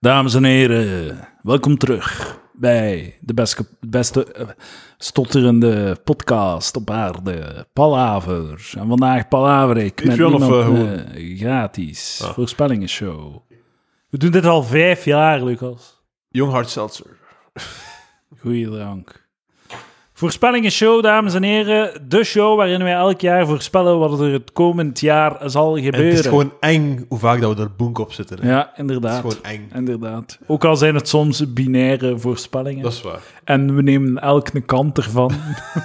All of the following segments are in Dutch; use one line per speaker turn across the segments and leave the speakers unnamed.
Dames en heren, welkom terug bij de beste, beste eh, stotterende podcast op aarde, Palaver. En vandaag Palaver ik met
je wel of,
niemand,
eh, Ah. gewoon?
eh, gratis, voorspellingenshow. We doen dit al vijf jaar, Lucas.
Jong Hard Seltzer.
Goeie dank. Voorspellingenshow, dames en heren. De show waarin wij elk jaar voorspellen wat er het komend jaar zal
En
gebeuren.
het is gewoon eng hoe vaak dat we er boenk op zitten. hè.
Ja,
Het is
inderdaad.
gewoon eng.
Inderdaad. Ook al zijn het soms binaire voorspellingen.
Dat is waar.
En we nemen elk een kant ervan.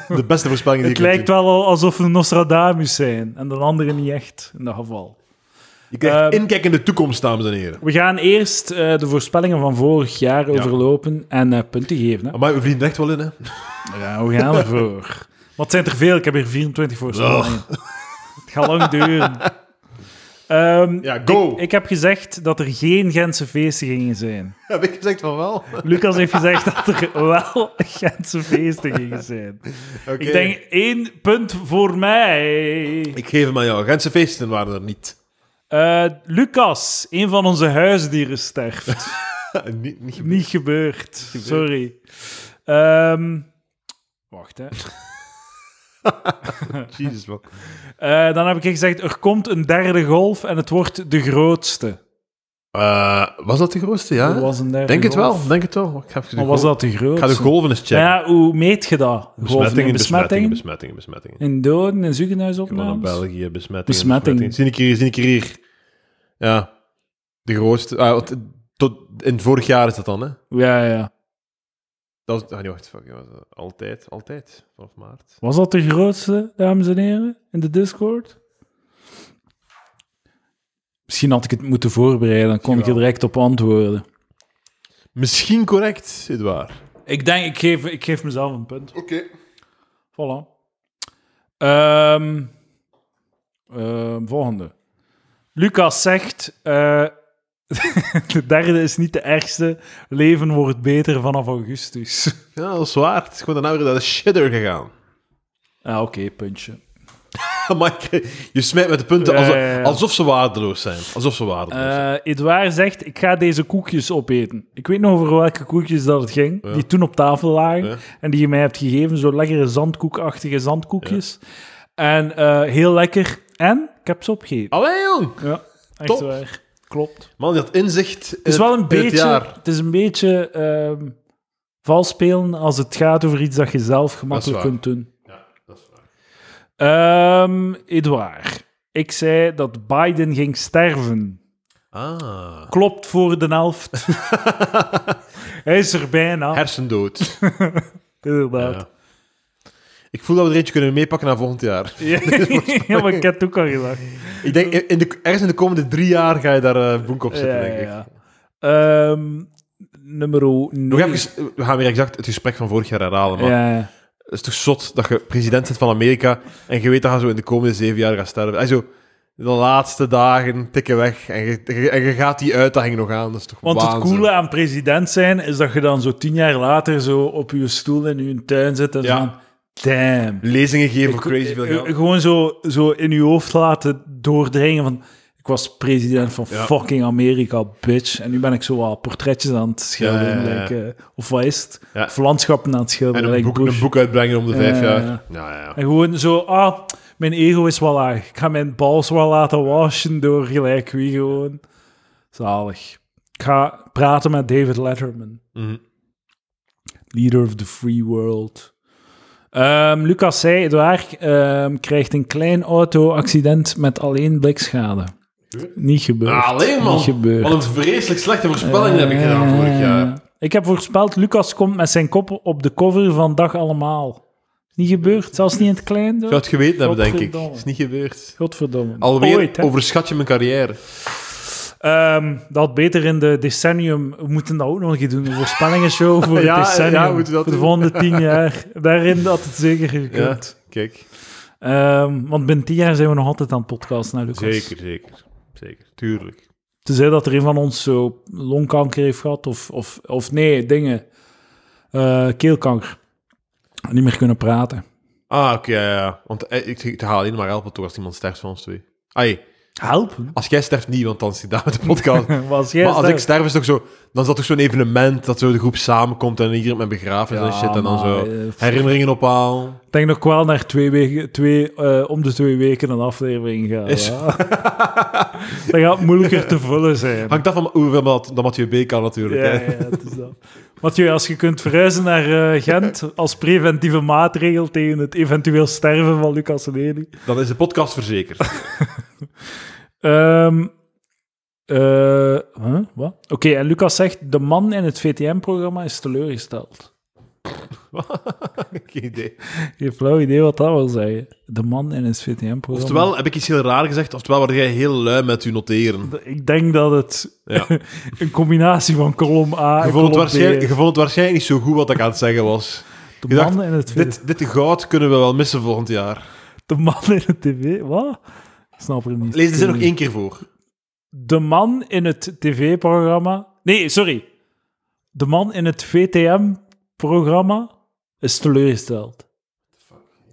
De beste voorspelling die
het
ik kan
lijkt
doen.
wel al alsof we Nostradamus zijn en de anderen niet echt, in dat geval.
Je krijgt
Ehm,
inkijk in de toekomst, dames en heren.
We gaan eerst eh, de voorspellingen van vorig jaar overlopen en eh, punten geven. Hè?
Maar we verdienen echt wel in, hè?
Oh, Ja, we gaan ervoor. Oh. Wat zijn er veel? Ik heb hier 24 voorspellingen. Het gaat lang duren. Ehm,
Ja, go!
Ik heb gezegd dat er geen Gentse feesten gingen zijn.
Heb ik gezegd van wel?
Lucas heeft gezegd dat er wel Gentse feesten gingen zijn.
Oké.
Ik denk één punt voor mij.
Ik geef hem aan jou. Gentse feesten waren er niet.
Eh, Lucas, een van onze huisdieren sterft.
niet, niet gebeurd.
Niet gebeurd. Sorry. Ehm, wacht, hè.
Jezus, man.
Eh, dan heb ik gezegd, er komt een derde golf en het wordt de grootste.
Eh, was dat de grootste,
Er
ja?
was een derde
Denk het
golf.
wel, denk het wel. Ik ga, even de
Maar was
golven-
dat de
ik
grootste?
ga de golven eens checken.
Maar ja, hoe meet je dat? Golven
besmettingen,
in
besmettingen,
besmettingen?
besmettingen, besmettingen.
In doden, in
Gewoon in
ziekenhuisopnames?
België, besmettingen.
Besmetting.
besmettingen. Zie ik hier, zie ik hier. Ja, de grootste. ah, wat- tot, in vorig jaar is dat dan, hè?
Ja, ja.
Dat was, ah, nee, wacht, fuck, was dat altijd, altijd, vanaf maart.
Was dat de grootste, dames en heren, in de Discord? Misschien had ik het moeten voorbereiden, dan kon ik er
Jawel.
direct op antwoorden.
Misschien correct, Edouard.
Ik denk, ik geef, ik geef mezelf een punt.
Oké.
Voilà. Ehm, ehm, volgende. Lucas zegt: eh, De derde is niet de ergste. Leven wordt beter vanaf augustus.
Ja, dat is waar. Het is gewoon daarna weer naar de shitter gegaan.
Ah, oké, puntje.
Mike, je smijt met de punten
Ja,
alsof,
ja, ja.
alsof ze waardeloos zijn. Alsof ze waardeloos zijn.
Eh Edouard zegt, ik ga deze koekjes opeten. Ik weet nog over welke koekjes dat het ging, die toen op tafel lagen
Ja.
en die je mij hebt gegeven, zo lekkere zandkoekachtige zandkoekjes. En eh, heel lekker. En ik heb ze opgegeten.
Allee, jong!
Ja, echt
top.
waar. Klopt.
Man, dat inzicht in
Het is wel
het-
een
in het
beetje,
jaar.
het is een beetje ehm, vals spelen als het gaat over iets dat je zelf gemakkelijk
waar.
kunt doen.
Ja, dat is waar.
Ehm Edouard, ik zei dat Biden ging sterven.
Ah.
klopt voor de helft. Hij is er bijna.
Hersendood.
Inderdaad.
ja. Ik voel dat we er eentje kunnen meepakken naar volgend jaar.
Ja. maar ik heb het ook al gedacht.
Ik denk, in de, ergens in de komende drie jaar ga je daar eh, boek op zetten,
Ja,
denk ik.
ja. Ehm, nummer 9.
Nog even, we gaan weer exact het gesprek van vorig jaar herhalen, maar
Ja, ja.
het is toch zot dat je president bent van Amerika en je weet dat je zo in de komende zeven jaar gaat sterven. En zo, de laatste dagen tikken weg en je, je- en je gaat die uitdaging nog aan. Dat is toch
Want het
waanzin.
coole aan president zijn is dat je dan zo tien jaar later zo op je stoel in je tuin zit en
Ja.
zo van, damn.
Lezingen geven voor crazy veel
Eh, eh,
geld.
Gewoon zo, zo in je hoofd laten doordringen van... Ik was president van
Ja.
fucking Amerika, bitch. En nu ben ik zo wat portretjes aan het schilderen.
Ja, ja, ja, ja.
like, eh, of wat is het?
Ja.
Of landschappen aan het
En
schilderen.
een
like
boek,
Bush.
een boek uitbrengen om de vijf
Ja,
jaar.
ja, ja.
Ja, ja, ja.
En gewoon zo... Ah, mijn ego is wel laag. Ik ga mijn bals wel laten washen door gelijk wie gewoon. Zalig. Ik ga praten met David Letterman.
Mhm.
Leader of the Free World. Ehm, Lucas zei, Edouard ehm, krijgt een klein auto-accident met alleen blikschade. Niet gebeurd.
Ah, alleen
Niet
man,
gebeurd.
wat een vreselijk slechte voorspelling heb ik gedaan vorig jaar.
Ik heb voorspeld, Lucas komt met zijn kop op de cover van Dag Allemaal. Niet gebeurd, zelfs niet in het klein. dus.
Ik zou het geweten hebben, denk ik.
Godverdomme.
Is niet gebeurd.
Godverdomme.
Alweer
Ooit, hè.
overschat je mijn carrière.
Ehm, dat had beter in de decennium. We moeten dat ook nog een keer doen. Een voorspellingenshow voor
Ja,
het decennium.
ja, moeten we dat
voor de
doen?
volgende tien jaar. Daarin had het zeker
Ja,
gekund.
kijk.
Ehm, want binnen tien jaar zijn we nog altijd aan het podcasten, hè, Lucas.
Zeker, zeker. Zeker, tuurlijk.
Tenzij dat er een van ons zo longkanker heeft gehad, of, of, of nee, dingen. Eh, keelkanker. Niet meer kunnen praten.
Ah, oké, ja, ja. Want eh, ik, ik haal in maar helpen toch als iemand sterft van ons twee. Ai,
Helpen?
Als jij sterft niet, want dan zit daar met de podcast.
Was jij
maar als ik
zelf-
sterf, is het toch zo... Dan is dat toch zo'n evenement dat zo de groep samenkomt en iedereen met begrafenis en
Ja,
shit. En dan
maar,
zo
eh, pff.
herinneringen ophalen.
Ik denk nog wel naar twee weken, twee, eh, om de twee weken een aflevering gaan.
Is-
hè. dat gaat moeilijker te vullen zijn.
Hangt af van hoeveel dat, dat Mathieu B. kan natuurlijk.
Ja, ja,
hè.
het is dat. Mathieu, als je kunt verhuizen naar eh, Gent als preventieve maatregel tegen het eventueel sterven van Lucas Lely.
Dan is de podcast verzekerd.
Ehm, eh, huh? Wat? Oké, en Lucas zegt, de man in het VTM-programma is teleurgesteld.
Geen idee.
Geen flauw idee wat dat wil zeggen. De man in het VTM-programma.
Oftewel heb ik iets heel raar gezegd, oftewel word jij heel lui met je noteren.
Ik denk dat het
Ja.
een combinatie van kolom A
Je
en
vond,
kolom
het
B
waarschijnlijk,
is.
je vond het waarschijnlijk niet zo goed wat ik aan het zeggen was.
De
je dacht,
man in het VTM.
Dit, dit goud kunnen we wel missen volgend jaar.
De man in het tv... Wat? Ik snap er niet.
Lees de zin nog één keer voor.
De man in het tv-programma... Nee, sorry. De man in het VTM-programma is teleurgesteld.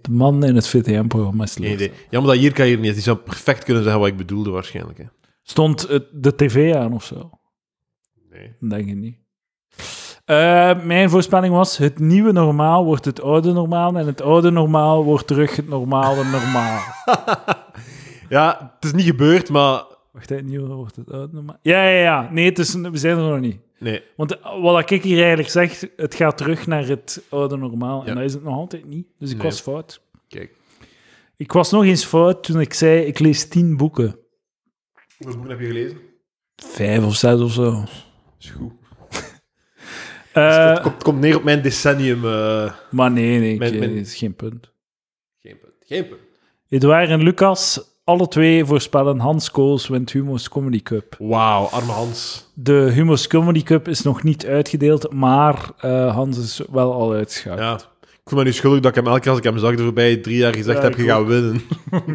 De man in het VTM-programma is
Geen idee.
teleurgesteld.
Jammer dat Jirka hier niet is. Die zou perfect kunnen zeggen wat ik bedoelde waarschijnlijk. Hè.
Stond het- de tv aan of zo?
Nee.
Denk ik niet. Eh, mijn voorspelling was: het nieuwe normaal wordt het oude normaal. En het oude normaal wordt terug het normale normaal.
Ja, het is niet gebeurd, maar...
Wacht, het nieuwe wordt het oude normaal. Ja, ja, ja. Nee, het is, we zijn er nog niet.
Nee.
Want eh, wat ik hier eigenlijk zeg, het gaat terug naar het oude normaal.
Ja.
En dat is het nog altijd niet. Dus ik
Nee.
was fout.
Kijk.
Ik was nog eens fout toen ik zei, ik lees tien boeken.
Hoeveel boeken heb je gelezen?
Vijf of zes of zo.
Is goed.
Eh,
het, Dus komt, het komt neer op mijn decennium. eh,
maar nee, nee, ik-
Mijn- mijn-
eh, is geen punt.
Geen punt. Geen punt.
Edouard en Lucas, alle twee voorspellen Hans Kools wint Humo's Comedy Cup.
Wauw, arme Hans.
De Humo's Comedy Cup is nog niet uitgedeeld, maar eh, Hans is wel al uitgeschakeld.
Ja. Ik voel me nu schuldig dat ik hem elke keer als ik hem zag de voorbije drie jaar gezegd
Ja,
heb,
ik
je gaat winnen.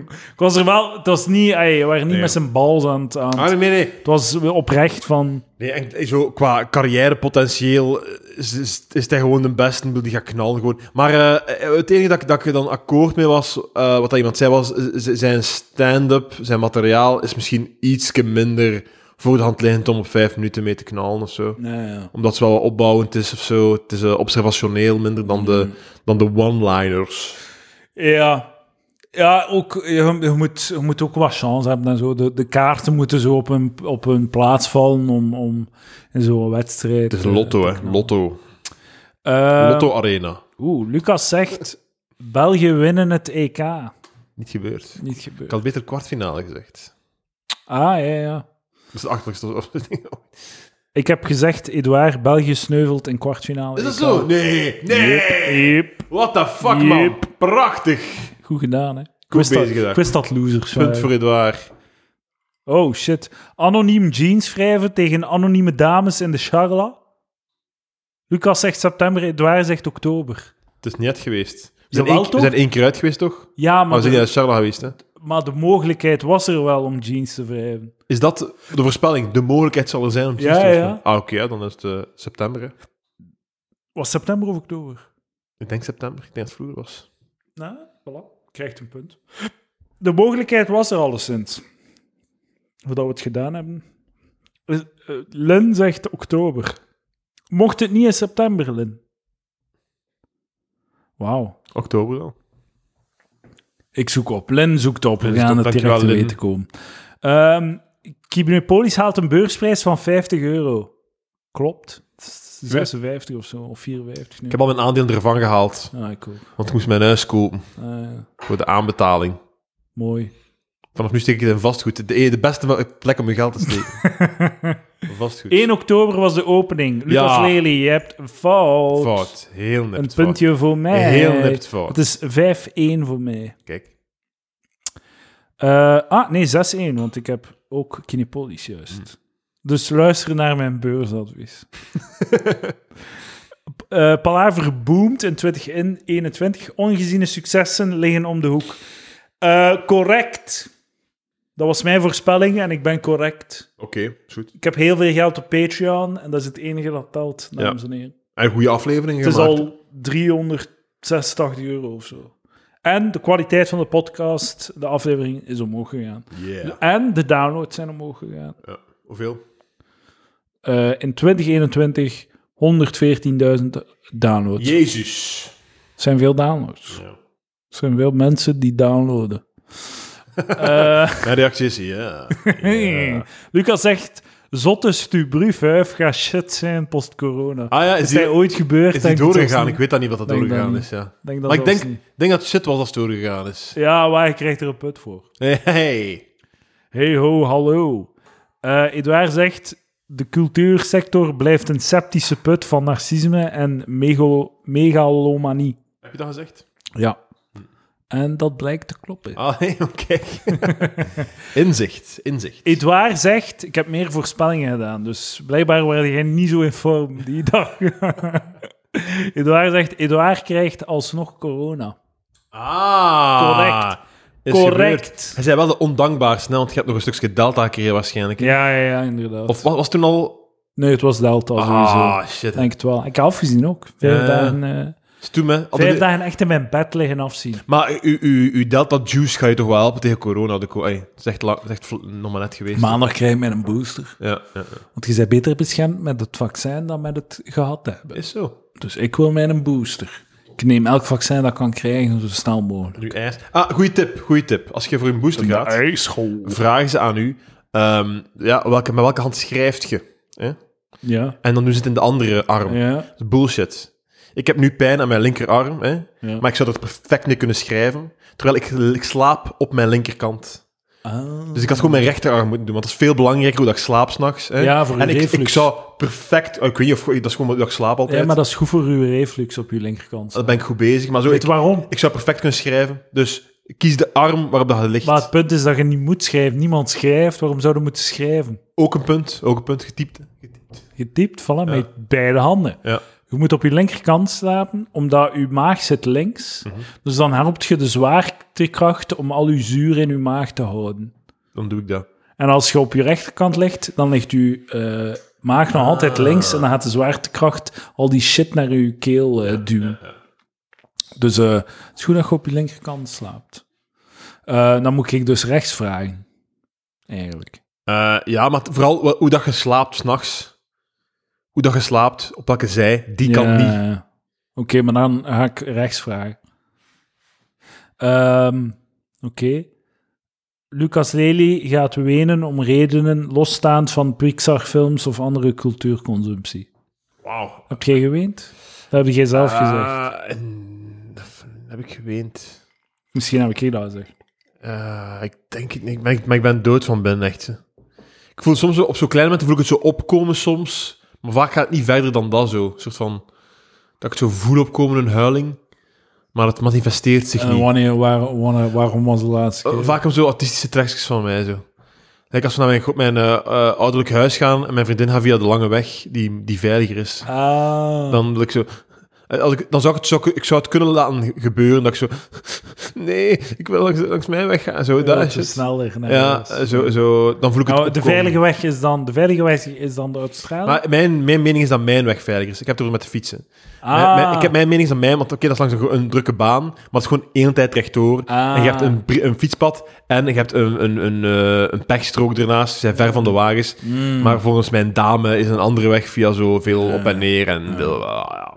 Ik was er wel, het was niet, ey, we waren niet
Nee.
met zijn bal aan het... Aan het-
Ah, nee, nee, nee.
Het was oprecht van...
Nee, en zo qua carrièrepotentieel eh, is, is, is hij gewoon de beste. Ik bedoel, Die gaat knallen gewoon. Maar eh, het enige dat, ik- dat ik er dan akkoord mee was, eh, wat dat iemand zei, was z- z- zijn stand-up, zijn materiaal is misschien ietske minder voor de hand liggend om op vijf minuten mee te knallen of zo. Omdat het wel wat opbouwend is of zo. Het is eh, observationeel minder dan de, dan de one-liners.
Ja. Ja, ook, je, je moet, je moet ook wat chance hebben en zo. De, de kaarten moeten zo op hun, op hun plaats vallen om, om in zo'n wedstrijd... eh,
Het is lotto, hè. Lotto.
Ehm.
Lotto Arena.
Oeh, Lucas zegt... België winnen het EK.
Niet gebeurd.
Niet
Ik
gebeurd.
had beter kwartfinale gezegd.
Ah, ja, ja.
Dat is het achterlijkste.
Ik heb gezegd, Edouard, België sneuvelt in kwartfinale.
Is dat
EK.
zo? Nee, nee.
Yep, yep.
What the fuck, man. Prachtig.
Goed gedaan, hè. Ik wist, dat,
bezig daar.
ik wist dat losers
Punt
waren.
voor Edouard.
Oh, shit. Anoniem jeans wrijven tegen anonieme dames in de charla. Lucas zegt september, Edouard zegt oktober.
Het is net geweest. We zijn,
Jawel,
één, we
toch?
zijn één keer uit geweest, toch? Maar
Ja, maar,
we zijn
de,
niet uit Charlotte geweest, hè?
maar de mogelijkheid was er wel om jeans te wrijven.
Is dat de voorspelling? De mogelijkheid zal er zijn om te
Ja,
te
ja.
doen? Ah, oké, ja, dan is het eh, september, hè?
Was september of oktober?
Ik denk september. Ik denk dat het vroeger was.
Nou, voilà. Krijgt een punt. De mogelijkheid was er alleszins. Voordat we het gedaan hebben. Eh, eh, Lin zegt oktober. Mocht het niet in september, Lin? Wauw.
Oktober dan.
Ik zoek op. Len zoekt op. We
Len zoekt
gaan
op.
het direct
Dankjewel,
te
Len.
weten komen. Ehm Kibernepolis haalt een beursprijs van 50 euro. Klopt. Het is 56 of zo, of 54 nu.
Ik heb al mijn aandeel ervan gehaald,
Ah, ik ook.
want ik moest mijn huis kopen
Ah,
voor de aanbetaling.
mooi.
Vanaf nu steek ik het in vastgoed. De, de beste plek om je geld te steken. vastgoed.
1 oktober was de opening. Lucas
Ja.
Lely, je hebt een fout.
Fout. Heel net
Een puntje voor mij.
Heel nipt fout.
Het is 5-1 voor mij.
Kijk.
Eh, ah, nee, 6-1, want ik heb ook Kinepolis juist. Dus luister naar mijn beursadvies. Eh Palaver boomt in 2021. Ongeziene successen liggen om de hoek. Eh, correct. Dat was mijn voorspelling en ik ben correct.
Oké, is goed.
Ik heb heel veel geld op Patreon en dat is het enige dat telt,
Ja.
dames en heren.
En goede afleveringen
Het is
gemaakt.
al 386 euro of zo. En de kwaliteit van de podcast, de aflevering, is omhoog gegaan.
Yeah.
En de downloads zijn omhoog gegaan.
Ja. Hoeveel?
Eh, in 2021 114.000 downloads.
Jezus.
zijn veel downloads.
Ja.
Er zijn veel mensen die downloaden. Eh,
Mijn reactie is ja. Ja.
Lucas zegt, zotte stubru 5 gaat shit zijn post-corona.
Ah ja, is
Is dat
die,
ooit gebeurd?
is die
Denk het
doorgegaan?
zelfs
Ik weet dat niet wat dat
Denk dat
doorgegaan
niet.
is. Ja.
niet. denk dat
Maar ik
zelfs
denk,
niet.
denk dat shit was als het doorgegaan is.
Ja, maar je krijgt er een put voor.
Hey.
Hey ho, hallo. Eh Edouard zegt, de cultuursector blijft een septische put van narcisme en mego- megalomanie.
Heb je dat gezegd?
Ja.
Hm.
En dat blijkt te kloppen.
Ah, hey, oké. inzicht, inzicht.
Edouard zegt, ik heb meer voorspellingen gedaan, dus blijkbaar waren jij niet zo in vorm die dag. Edouard zegt, Edouard krijgt alsnog corona.
Ah.
Correct.
Is
Correct.
gebeurd. Hij zei wel de ondankbaarste, hè, want je hebt nog een stukje delta keer waarschijnlijk.
Ja, ja, ja, inderdaad.
Of was, was toen al...
Nee, het was Delta sowieso.
Ah, shit.
Ik Denk het wel. Ik heb afgezien ook. Vijf,
Ja.
dagen, eh,
Stoem, hè. Hadden
vijf
we-
dagen echt in mijn bed liggen afzien.
Maar u, u, u delta juice ga je toch wel helpen tegen corona? De co Ey, het is echt, lang, het is echt vl- nog maar net geweest.
Maandag krijg ik een booster.
Ja, ja, ja.
Want je bent beter beschermd met het vaccin dan met het gehad te hebben.
Is zo.
Dus ik wil mijn booster. Ik neem elk vaccin dat ik kan krijgen zo snel mogelijk.
Nu ijs. Ah, goeie tip, goeie tip. Als je voor een booster gaat...
ijschool.
vragen ze aan u, ehm, ja, welke, met welke hand schrijft je? Hè?
Ja,
En dan doen ze het in de andere arm.
ja.
Dat is Bullshit. Ik heb nu pijn aan mijn linkerarm, hè?
Ja.
maar ik zou dat perfect niet kunnen schrijven, terwijl ik, ik slaap op mijn linkerkant.
Ah.
Dus ik had gewoon mijn rechterarm moeten doen, want dat is veel belangrijker hoe dat ik slaap s'nachts.
Ja, voor
en
je
ik, ik
reflux.
zou perfect, ik weet niet of dat is gewoon hoe ik slaap altijd.
Ja, maar dat is goed voor uw reflux op uw linkerkant.
Dan ben ik goed bezig, maar zo,
Weet
ik,
waarom?
ik zou perfect kunnen schrijven. Dus kies de arm waarop dat je ligt.
Maar het punt is dat je niet moet schrijven. Niemand schrijft. Waarom zouden we moeten schrijven?
Ook een punt, ook een punt, getypt. getypt.
Je typt voilà, met beide handen.
Ja.
Je moet op je linkerkant slapen, omdat je maag zit links.
Mhm.
Dus dan helpt je de zwaartekracht om al je zuur in je maag te houden.
Dan doe ik dat.
En als je op je rechterkant ligt, dan ligt je eh, maag nog
Ah.
altijd links en dan gaat de zwaartekracht al die shit naar je keel eh, duwen. Dus eh, het is goed dat je op je linkerkant slaapt. Eh, dan moet ik dus rechts vragen. Eigenlijk.
Eh, ja, maar t- vooral wa- hoe dat je slaapt s'nachts. Hoe dat je slaapt, op welke zij, die kan niet.
Oké, maar dan ga ik rechts vragen. Ehm, Oké. Lucas Lely gaat wenen om redenen losstaand van Pixar-films of andere cultuurconsumptie.
Wauw. Eh,
Heb jij geweend? Dat heb jij zelf gezegd.
heb ik geweend.
Misschien heb ik je dat gezegd.
Eh, ik denk het niet, maar ik, maar ik ben dood van binnen, echt. hè. Ik voel soms, zo- op zo'n kleine momenten voel ik het zo opkomen soms. Maar vaak gaat het niet verder dan dat zo. Een soort van, dat ik het zo voel opkomen, een huiling. Maar het manifesteert zich
En
niet.
wanneer, waar, wanneer- waarom was de laatste
Eh,
keer?
Vaak om zo autistische trekjes van mij zo. Kijk, als we naar mijn, gro- mijn eh, eh, ouderlijk huis gaan en mijn vriendin gaat via de lange weg, die, die veiliger is,
Ah.
dan wil ik zo. eh, Als ik, dan zou ik, het, zou, ik- ik zou het kunnen laten gebeuren dat ik zo. Nee, ik wil langs, langs mijn weg gaan. Zo,
Ja,
dat
te
is het.
sneller. naar
Ja,
huis.
zo, zo, dan voel ik het.
Nou, de
opkomen.
veilige weg is dan de, veilige weg is dan de uitstraling.
Maar mijn, mijn mening is dat mijn weg veiliger is. Ik heb het over met de fietsen. Mijn- mijn-
Ah.
ik heb mijn mening is dat mijn, want oké, dat is langs een, gro- een drukke baan, maar het is gewoon één tijd rechtdoor.
Ah.
En je hebt een, bri- een fietspad en je hebt een, een, een, eh, een pechstrook ernaast. Ze zijn ver van de wagens.
Mm. Eh,
Maar volgens mijn dame is een andere weg via zoveel op en neer. En wil- ah, ja.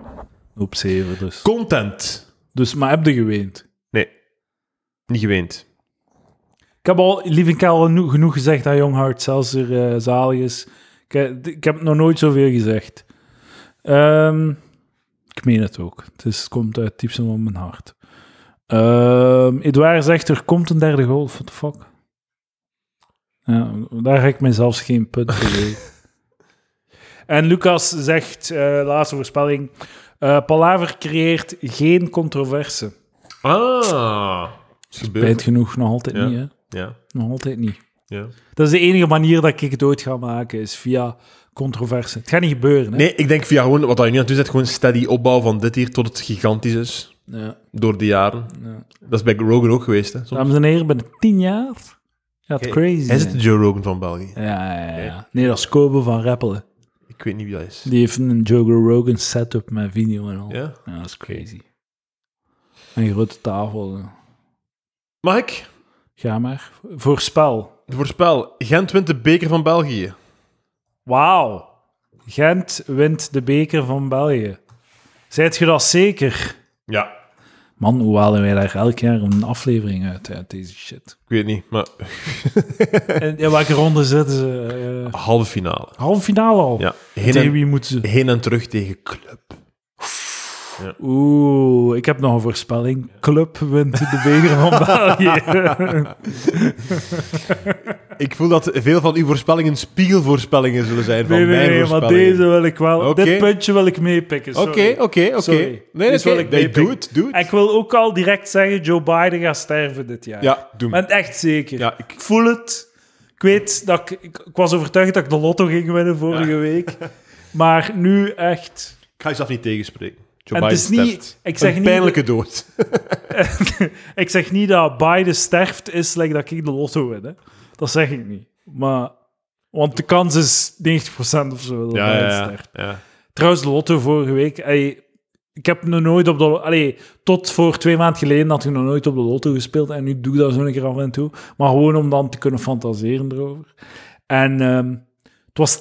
Op 7 dus.
Content.
Dus, maar heb je geweend?
Nee, niet geweend.
Ik heb al, lief en kaal, genoeg, genoeg gezegd dat Young Hart zelfs er eh, zalig is. Ik, eh, d- ik heb nog nooit zoveel gezegd. Ehm, ik meen het ook. Het, is, het komt uit het diepste van mijn hart. Ehm Edouard zegt, er komt een derde golf. What the fuck? Ja, daar ga ik mezelf geen punt voor geven. En Lucas zegt, eh, laatste voorspelling, eh Palaver creëert geen controverse.
Ah, is gebeurd.
Bijt genoeg, nog altijd
Ja.
niet. Hè?
Ja,
Nog altijd niet.
ja.
Dat is de enige manier dat ik het ooit ga maken, is via controverse. Het gaat niet gebeuren, hè?
Nee, ik denk via gewoon wat je nu aan het doen bent, gewoon steady opbouw van dit hier tot het gigantisch is.
Ja,
Door de jaren.
ja.
Dat is bij Rogan ook geweest. Hè, soms.
Dames en heren, binnen tien jaar gaat het crazy
Hij is
zijn.
het de Joe Rogan van België.
Ja, ja, ja, ja. Nee, dat is Kobe van Rappelen.
Ik weet niet wie dat is.
Die heeft een Joe Rogan setup met video en al.
Ja?
dat is crazy. Een grote tafel. hè.
Mag ik?
Ga maar. Voorspel.
Voorspel. Gent wint de beker van België.
Wauw. Gent wint de beker van België. Zijt je dat zeker?
Ja.
Man, hoe halen wij daar elk jaar een aflevering uit, uit deze shit?
Ik weet het niet, maar
En in welke ronde zitten ze? Eh,
halve finale.
halve finale al.
Ja. Heen
Tegen
en,
wie moeten ze?
heen en terug tegen Club.
Oeh, ik heb nog een voorspelling. Club wint de beker van België.
Ik voel dat veel van uw voorspellingen spiegelvoorspellingen zullen zijn van
nee, nee,
mijn
nee, maar
voorspellingen.
deze wil ik wel.
Oké.
Dit puntje wil ik meepikken. sorry.
Oké, oké, oké.
Sorry.
Nee,
Dit
dat
wil
wil
ik
Nee,
meepikken.
doe het, doe het.
Ik wil ook al direct zeggen, Joe Biden gaat sterven dit jaar.
Ja, doe
Ik
maar.
ben het echt zeker.
Ja, ik,
Ik voel het. Ik weet dat ik, ik... ik was overtuigd dat ik de lotto ging winnen vorige week. Maar nu echt...
ik ga jezelf niet tegenspreken. Joe
En
Biden
het is niet-
sterft.
ik zeg
een
niet-
pijnlijke dood.
Ik zeg niet dat Biden sterft is like dat ik de lotto win. Hè. Dat zeg ik niet. Maar... Want de kans is 90% of zo dat
Ja,
Biden
ja, ja.
sterft.
ja.
Trouwens, de lotto vorige week... ey, ik heb nog nooit op de... Allee, tot voor twee maanden geleden had ik nog nooit op de lotto gespeeld. En nu doe ik dat zo een keer af en toe. Maar gewoon om dan te kunnen fantaseren erover. En ehm, het was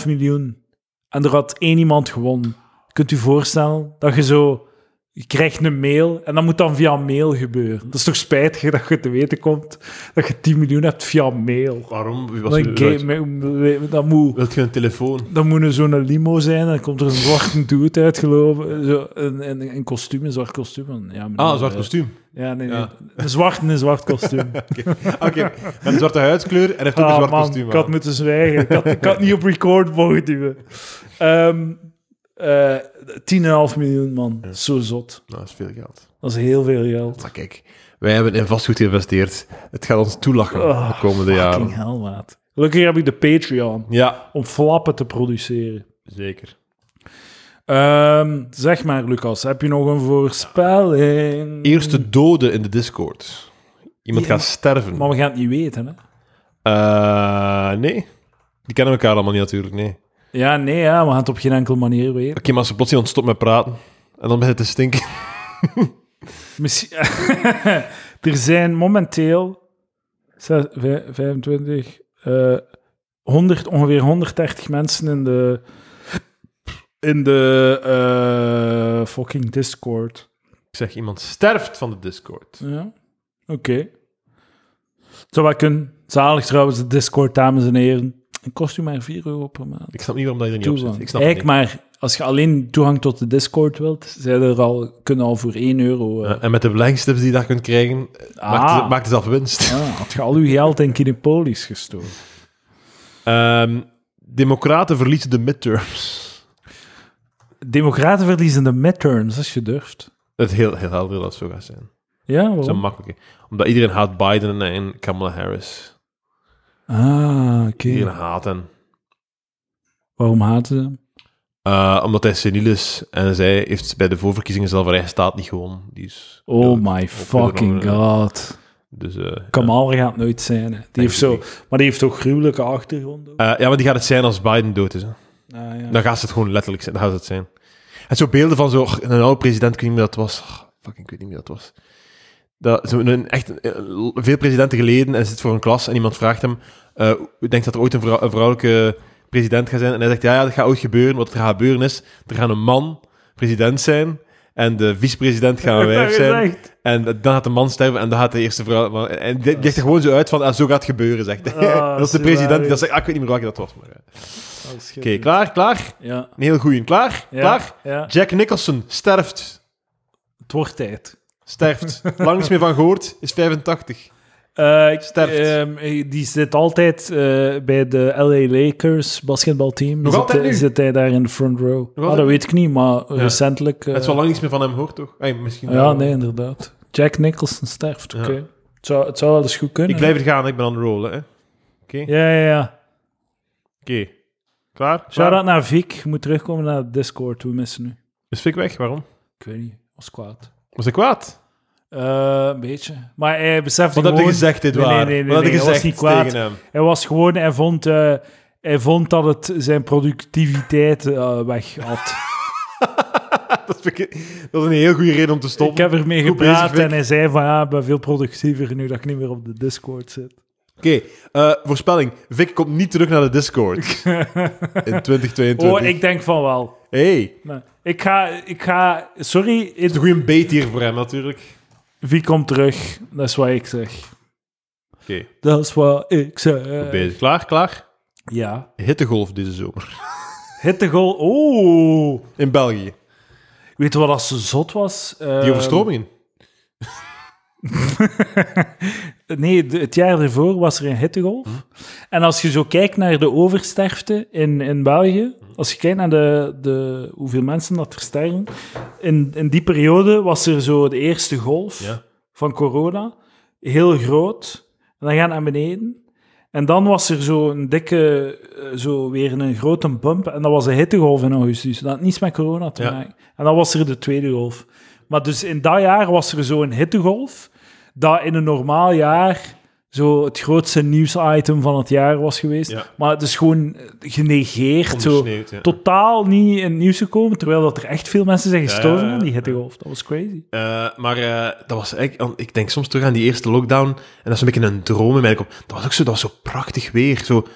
10,5 miljoen. En er had één iemand gewonnen. Kunt u voorstellen dat je zo... Je krijgt een mail en dat moet dan via mail gebeuren. Dat is toch spijtig dat je te weten komt dat je 10 miljoen hebt via mail.
Waarom? Wie was
Dat,
er-
een game- dat moet...
Wilt je een telefoon?
Dan moet er zo'n limo zijn en dan komt er een zwarte dude uitgelopen. Zo, een, een, een kostuum, een zwart kostuum. Ja, meneer,
Ah, een zwart
eh,
kostuum.
Ja, nee, nee.
Ja.
Een zwart en een zwart kostuum.
Oké, met een zwarte huidskleur en hij heeft ook een
ah,
zwart
man,
kostuum.
ik had
aan.
moeten zwijgen. Ik had, ik had niet op record mogen duwen. Ehm eh 10,5 miljoen, man. Zo zot.
Nou, dat is veel geld.
Dat is heel veel geld.
Maar kijk, wij hebben in vastgoed geïnvesteerd. Het gaat ons toelachen
Oh,
de komende
Fucking
jaren.
hell, maat. Gelukkig heb ik de Patreon
Ja,
om flappen te produceren.
zeker.
Ehm, zeg maar, Lucas, heb je nog een voorspelling?
Eerste dode in de Discord. Iemand
Ja,
gaat
maar-
sterven.
Maar we gaan het niet weten, hè?
Eh, nee. Die kennen elkaar allemaal niet natuurlijk, nee. Oké,
Ja, nee, ja, we gaan het op geen enkele manier weten.
maar als ze plotseling stopt met praten en dan begint het te stinken.
Misschien... er zijn momenteel zes- vij- 25, eh 100, ongeveer 130 mensen in de, in de eh, fucking Discord.
Ik zeg, iemand sterft van de Discord.
Ja, oké. Zou wel kunnen. Zalig trouwens, de Discord, dames en heren. Het kost u maar 4 euro per maand.
Ik snap niet waarom dat je er niet op
toegang.
zit. Ik snap het
Eigenlijk
niet.
maar, als je alleen toegang tot de Discord wilt, zijn er al, kunnen al voor 1 euro... eh,
Eh, en met de belangstelling die je daar kunt krijgen, eh,
Ah.
maakt, het, maakt het zelf winst.
Ah, had je al uw geld in Kinepolis gestoken?
Ehm, democraten verliezen de midterms.
Democraten verliezen de midterms, als je durft.
Het is heel, heel helder dat het zo gaat zijn.
Ja, waarom?
Zo makkelijk. hè. Omdat iedereen haat Biden en Kamala Harris.
Ah, oké.
Iedereen haat hem.
Waarom haten ze hem?
Eh, omdat hij seniel is en zij heeft bij de voorverkiezingen zelf haar eigen staat niet gewonnen. Die is
Oh
ja,
my
op-
fucking
op-
god.
Dus, eh,
Kamal gaat het nooit zijn. Hè. Die heeft
ik
zo, maar die heeft toch gruwelijke achtergrond ook?
Eh, ja, maar die gaat het zijn als Biden dood is. Hè.
Ah, ja.
Dan gaat ze het gewoon letterlijk zijn. Dan gaat ze het zijn. En zo beelden van zo, een oude president, ik weet niet meer dat was. Oh, fucking, ik weet niet meer dat was. Dat, zo een, echt, eh, veel presidenten geleden, en hij zit voor een klas en iemand vraagt hem, eh denkt dat er ooit een, vrou- een vrouwelijke president gaat zijn? En hij zegt, ja, ja, dat gaat ooit gebeuren. Wat er gaat gebeuren is, er gaan een man president zijn en de vicepresident gaan een wijf zijn.
Echt.
En dan gaat de man sterven en dan gaat de eerste vrouw... maar- En die die legt er gewoon zo uit van, ah, zo gaat het gebeuren, zegt hij.
Ah,
dat is de president die dat zegt. Ah, ik weet niet meer welke dat was. maar, eh. Oké,
Dat is
klaar, klaar.
Ja.
Een heel goeie. Klaar?
Ja.
Klaar?
Ja.
Jack Nicholson sterft.
Het wordt tijd.
Sterft. Lang niets meer van gehoord. Is 85.
Eh, ik-
Sterft.
ehm, die zit altijd eh, bij de LA Lakers basketbalteam.
Nog
zit,
altijd nu?
zit hij daar in de front row? Ah, dat
altijd
weet ik niet, maar recentelijk... eh,
Het is wel lang niets meer van hem gehoord, toch? Ey, misschien
Ja,
wel.
nee, inderdaad. Jack Nicholson sterft, oké.
Ja.
Het, zou, het zou wel eens goed kunnen.
Ik blijf er gaan. Ik ben aan de rollen. hè. Oké.
Ja, ja, ja.
Oké. Klaar?
Shout-out naar Vic. Je moet terugkomen naar Discord. We missen nu.
Is Fik weg? Waarom?
Ik weet niet. Was kwaad.
Was ik kwaad?
Eh, een beetje. Maar hij besefte
Wat heb je
gewoon-
gezegd, dit
Nee, nee,
waar?
nee, nee,
Wat heb je
nee, hij was
gezegd
niet kwaad.
tegen hem?
Hij was gewoon... Hij vond, eh, hij vond dat het zijn productiviteit eh, weg had.
dat, vind ik, dat is een heel goede reden om te
Ik
stoppen.
heb ermee
Goed bezig,
gepraat
Vic.
en hij zei van ja, ik ben veel productiever nu dat ik niet meer op de Discord zit.
Oké, eh, voorspelling. Vic komt niet terug naar de Discord in 2022.
Oh, ik denk van wel.
Hey,
Nee. Ik ga, ik ga, sorry,
het is een goede beet hier voor hem natuurlijk.
wie komt terug? Dat is wat ik zeg.
Oké,
Dat is wat ik zeg.
goed bezig. Klaar, klaar.
Ja.
Hittegolf deze zomer.
Hittegol. Oeh.
In België.
Weet je wat als ze zot was?
Die overstromingen.
Nee, de- het jaar ervoor was er een hittegolf.
Hm.
En als je zo kijkt naar de oversterfte in, in België,
Hm.
als je kijkt naar de, de, hoeveel mensen dat er sterven, in, in die periode was er zo de eerste golf
Ja.
van corona, heel groot, en dan gaan naar beneden. En dan was er zo een dikke, eh, zo weer een grote bump, en dat was een hittegolf in augustus. Dat had niets met corona te
Ja.
maken. En dan was er de tweede golf. Maar dus in dat jaar was er zo'n hittegolf, dat in een normaal jaar zo het grootste nieuwsitem van het jaar was geweest.
Ja.
Maar het is gewoon eh, genegeerd. Zo,
Ondersneeuwd, ja.
totaal niet in het nieuws gekomen, terwijl dat er echt veel mensen zijn gestorven
Ja, ja, ja.
aan die hittegolf. Dat was crazy.
Eh, maar eh, dat was eigenlijk, ik denk soms terug aan die eerste lockdown. En dat is een beetje een droom in mij. Dat was ook zo, dat was zo prachtig weer. Zo,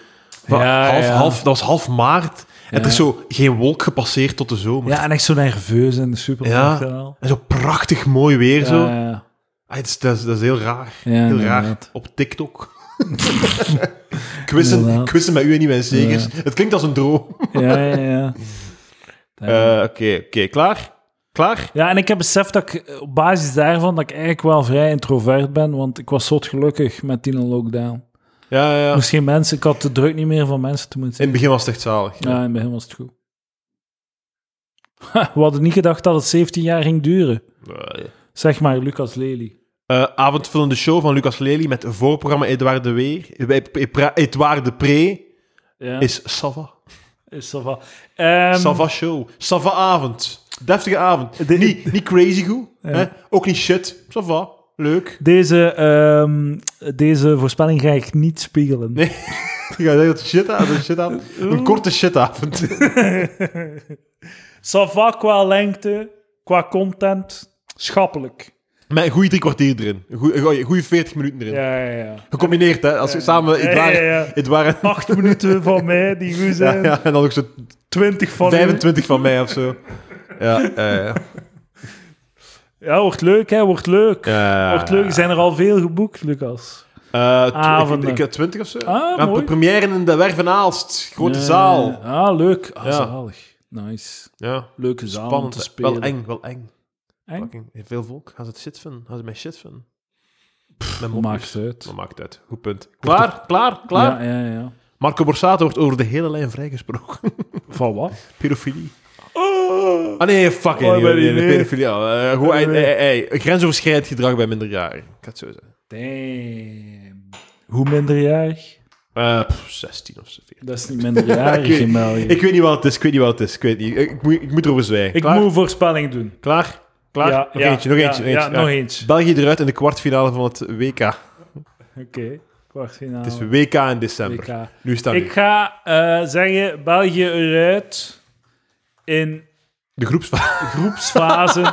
wa-
Ja,
half,
ja.
Half, dat was half maart. En er is zo geen wolk gepasseerd tot de zomer.
Ja, en echt zo nerveus in de supermarkt.
Ja.
en al.
En zo prachtig mooi weer. zo.
Ja, ja.
Ah, het is, dat, is, dat is heel raar.
Ja,
heel raar.
inderdaad.
Op TikTok. quizzen,
Inderdaad.
quizzen met u en niet mijn zegers. Het klinkt als een droom.
ja, ja, ja.
Eh, Oké, oké. Klaar? Klaar?
Ja, en ik heb beseft dat ik eh, op basis daarvan dat ik eigenlijk wel vrij introvert ben, want ik was zot gelukkig met die lockdown.
Ja, ja. ja.
Misschien mensen, ik had de druk niet meer van mensen te moeten
In het begin was het echt zalig.
Ja, in het begin was het goed. Ha, we hadden niet gedacht dat het 17 jaar ging duren.
Eh, ja.
Zeg maar, Lucas Lely.
Eh, avondvullende show van Lucas Lely met voorprogramma Edouard de Weer. Eh, eh, pra- Edouard de Pre
Ja,
is Sava.
Ehm. is ça va. Ehm,
Sava show. Sava avond. Deftige avond.
De-
niet, niet crazy goed. Hè? Ook niet shit. Sava. Leuk.
Deze, ehm, deze voorspelling ga ik niet spiegelen.
Nee. Ik ga zeggen dat het shit avond, shit avond. Een korte shitavond.
Ça va qua lengte, qua content, schappelijk.
Met een goede drie kwartier erin. Een goeie- een goeie- goeie 40 minuten erin.
Ja, ja, ja.
Gecombineerd, hè. Als je samen Edouard...
Ja, ja, ja.
Edouard-
Acht minuten van mij die goed
ja,
zijn.
ja, en dan ook zo
Twintig van u.
25 van mij of zo. Ja, ja, ja.
Ja, wordt leuk, hè. Wordt leuk.
ja.
Wordt leuk. Zijn er al veel geboekt, Lucas?
Eh, tw-
Avonden.
Ik, ik, 20 of zo.
Ah,
ja,
mooi.
première in de Werf en Aalst. Grote zaal.
Eh, ah, leuk. Ah,
Ja.
zalig. Nice.
Ja.
Leuke zaal om
Spannend.
te
hè.
spelen.
Wel eng, wel eng.
Eng?
Fucking Veel volk. Gaan ze het shit vinden? Gaan ze mij shit vinden? Met
Dat
mopjes.
maakt het uit.
Dat maakt uit. Goed punt. Klaar, klaar, klaar.
Ja, ja, ja.
Marco Borsato wordt over de hele lijn vrijgesproken.
Van wat?
pedofilie. Ah nee, fucking.
Oh,
nee,
ben je
nee, nee,
niet.
pedofilie. ja. Eh, gewoon,
Ben je
eh, eh, eh, grensoverschrijdend gedrag bij minderjarigen. Ik ga het zo zeggen.
Damn. Hoe minderjarig?
Eh, pff, 16 of zo. 14.
Dat is niet minderjarig
Oké.
in België.
Ik weet niet wat het is, ik weet niet wat het is. Ik, weet niet. ik, moet, ik moet erover zwijgen.
Ik
Klaar?
moet een voorspelling doen.
Klaar? Klaar?
Ja,
nog
ja,
eentje, nog
ja,
eentje. nog
ja,
eentje.
nog eentje.
België eruit in de kwartfinale van het WK.
Oké, kwartfinale.
Het is WK in december.
WK.
Nu staan
Ik ga eh, zeggen België eruit in
de groepsfase.
groepsfase.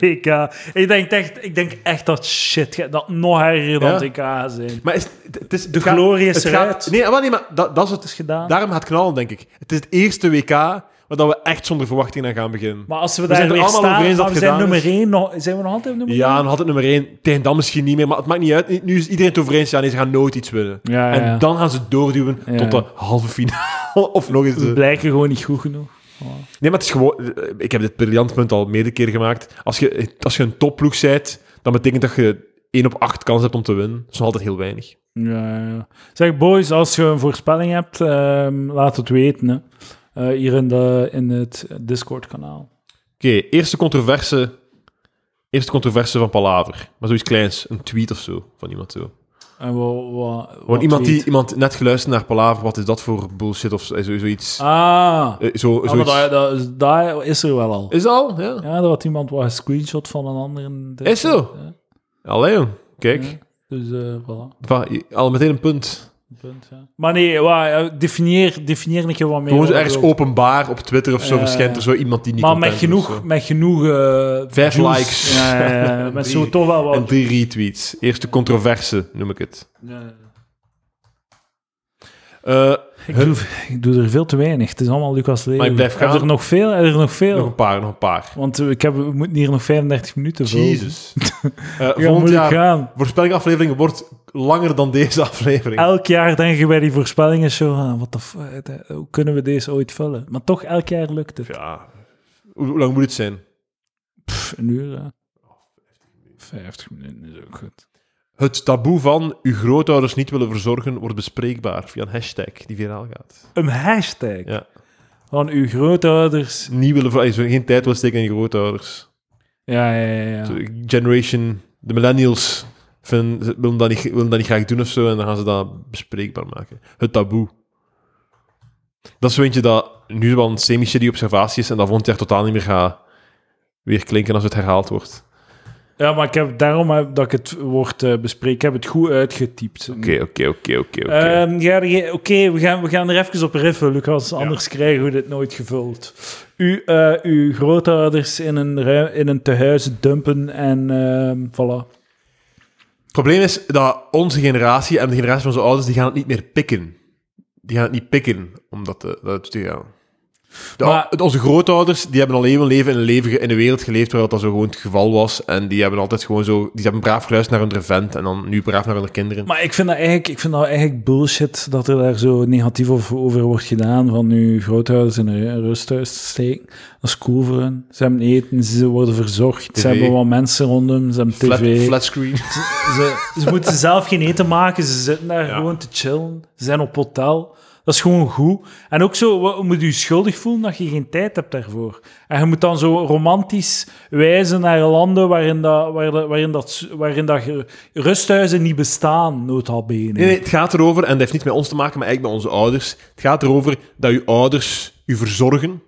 WK. Ik denk, echt, ik denk echt dat shit gaat- dat nog erger dan
Ja?
het WK gaat zijn.
Maar is, het, het is,
De glorie is
het
eruit.
Gaat, nee, maar, nee, maar dat, dat is het.
is gedaan.
Daarom gaat het knallen, denk ik. Het is het eerste WK waar dat we echt zonder verwachting aan gaan beginnen.
Maar als we,
zijn
daar
er
weer
allemaal over
staan,
eens dat
maar we
het
zijn
gedaan
nummer 1 nog, zijn we nog altijd nummer 1?
ja, dan had het nummer 1. Tegen dan misschien niet meer, maar het maakt niet uit. Nu is iedereen het over eens. Ja, nee, ze gaan nooit iets winnen.
Ja, ja, ja.
En dan gaan ze doorduwen
Ja.
tot de halve finale. of nog eens
Ze
de
blijken gewoon niet goed genoeg.
Nee, maar het is gewoon... eh, Ik heb dit briljant punt al meerdere keren gemaakt. Als je, als je een topploeg bent, dan betekent dat je 1 op 8 kans hebt om te winnen. Dat is nog altijd heel weinig.
Ja, ja. Zeg, boys, als je een voorspelling hebt, ehm, laat het weten. Hè. Eh, hier in, de, in het Discord-kanaal.
Oké, eerste controverse... Eerste controverse van Palaver. Maar zoiets kleins. Een tweet of zo. Van iemand zo.
En wa- wa-
Gewoon
wat
iemand die
weet-
iemand net geluisterd naar Palaver. Wat is dat voor bullshit of zo, eh, zo- zoiets.
Ah,
Eh, zo,
ah, maar
zoiets.
dat, dat is- dat is er wel al.
Is dat al? Ja.
Ja, er had iemand wel een screenshot van een ander. in de-
Is zo?
Ja,
Allee, jong. Kijk.
Mm. ja. Dus eh voilà.
Va- al meteen een punt.
Punt, ja. Maar nee, wa- definieer, definieer een keer wat meer.
Gewoon zo
wat je
ergens
wilt.
openbaar op Twitter of zo
Ja,
verschijnt er
ja.
zo iemand die niet
Maar met
content is of
genoeg,
zo.
met genoeg eh,
Vijf
views.
likes.
Ja, ja, ja. Met zo
Drie.
toch wel wat.
En drie retweets. Eerste controverse, noem ik het. Eh,
Ik, doe, ik doe er veel te weinig. Het is allemaal Lucas Lely.
Maar je blijft
Heb
gaan.
er nog veel? Heb er nog veel?
nog een paar, nog een paar.
Want eh, ik heb, we moeten hier nog 35 minuten voor.
Jezus. Eh
Ja,
volgend
moet ik
jaar,
gaan.
voorspellingaflevering wordt langer dan deze aflevering.
Elk jaar denken bij die voorspellingen zo van, wat de f- eh, hoe kunnen we deze ooit vullen? Maar toch, elk jaar lukt het.
Ja. Hoe, hoe lang moet het zijn?
Pff, een uur, hè. 50 minuten is ook goed.
Het taboe van uw grootouders niet willen verzorgen wordt bespreekbaar via een hashtag die viraal gaat.
Een hashtag
Ja.
van uw grootouders.
Niet willen ver- als je geen tijd wil steken aan je grootouders.
Ja, ja, ja. ja.
Zo, Generation, de millennials, vinden, ze- willen, dat niet, willen dat niet graag doen of zo en dan gaan ze dat bespreekbaar maken. Het taboe. Dat is zo eentje dat nu wel een semi-shitty observatie is en dat volgend jaar totaal niet meer gaat weer klinken als het herhaald wordt.
Ja, maar ik heb, daarom heb, dat ik het woord eh bespreek. Ik heb het goed uitgetypt.
Oké, oké, oké, oké, oké.
Ehm, ja, die- Oké, we, gaan, we gaan er even op riffen, Lucas. Anders krijgen we dit nooit gevuld. U, eh, uw grootouders in een, ru- in een tehuis dumpen en ehm voilà.
Het probleem is dat onze generatie en de generatie van onze ouders, die gaan het niet meer pikken. Die gaan het niet pikken om dat te, dat te gaan. De,
Maar-
het- onze grootouders, die hebben al heel hun leven in een, leven, in een wereld geleefd waar dat zo gewoon het geval was. En die hebben altijd gewoon zo... Die hebben braaf geluisterd naar hun vent en dan nu braaf naar hun kinderen.
Maar ik vind, dat eigenlijk, ik vind dat eigenlijk bullshit dat er daar zo negatief over- over wordt gedaan. Van uw grootouders in een rusthuis te steken. Dat is cool voor hen. Ze hebben eten, ze worden verzorgd.
TV.
Ze hebben wat mensen rondom, ze hebben tv.
Flat, flatscreen.
Ze, ze moeten zelf geen eten maken, ze zitten daar
Ja.
gewoon te chillen. Ze zijn op hotel. Dat is gewoon goed. En ook zo, wa- je moet je schuldig voelen dat je geen tijd hebt daarvoor. En je moet dan zo romantisch wijzen naar landen waarin dat, waar dat- waarin dat, waarin dat ge- rusthuizen niet bestaan, notabene.
Nee, nee, het gaat erover, en dat heeft niet met ons te maken, maar eigenlijk met onze ouders. Het gaat erover dat uw ouders u verzorgen,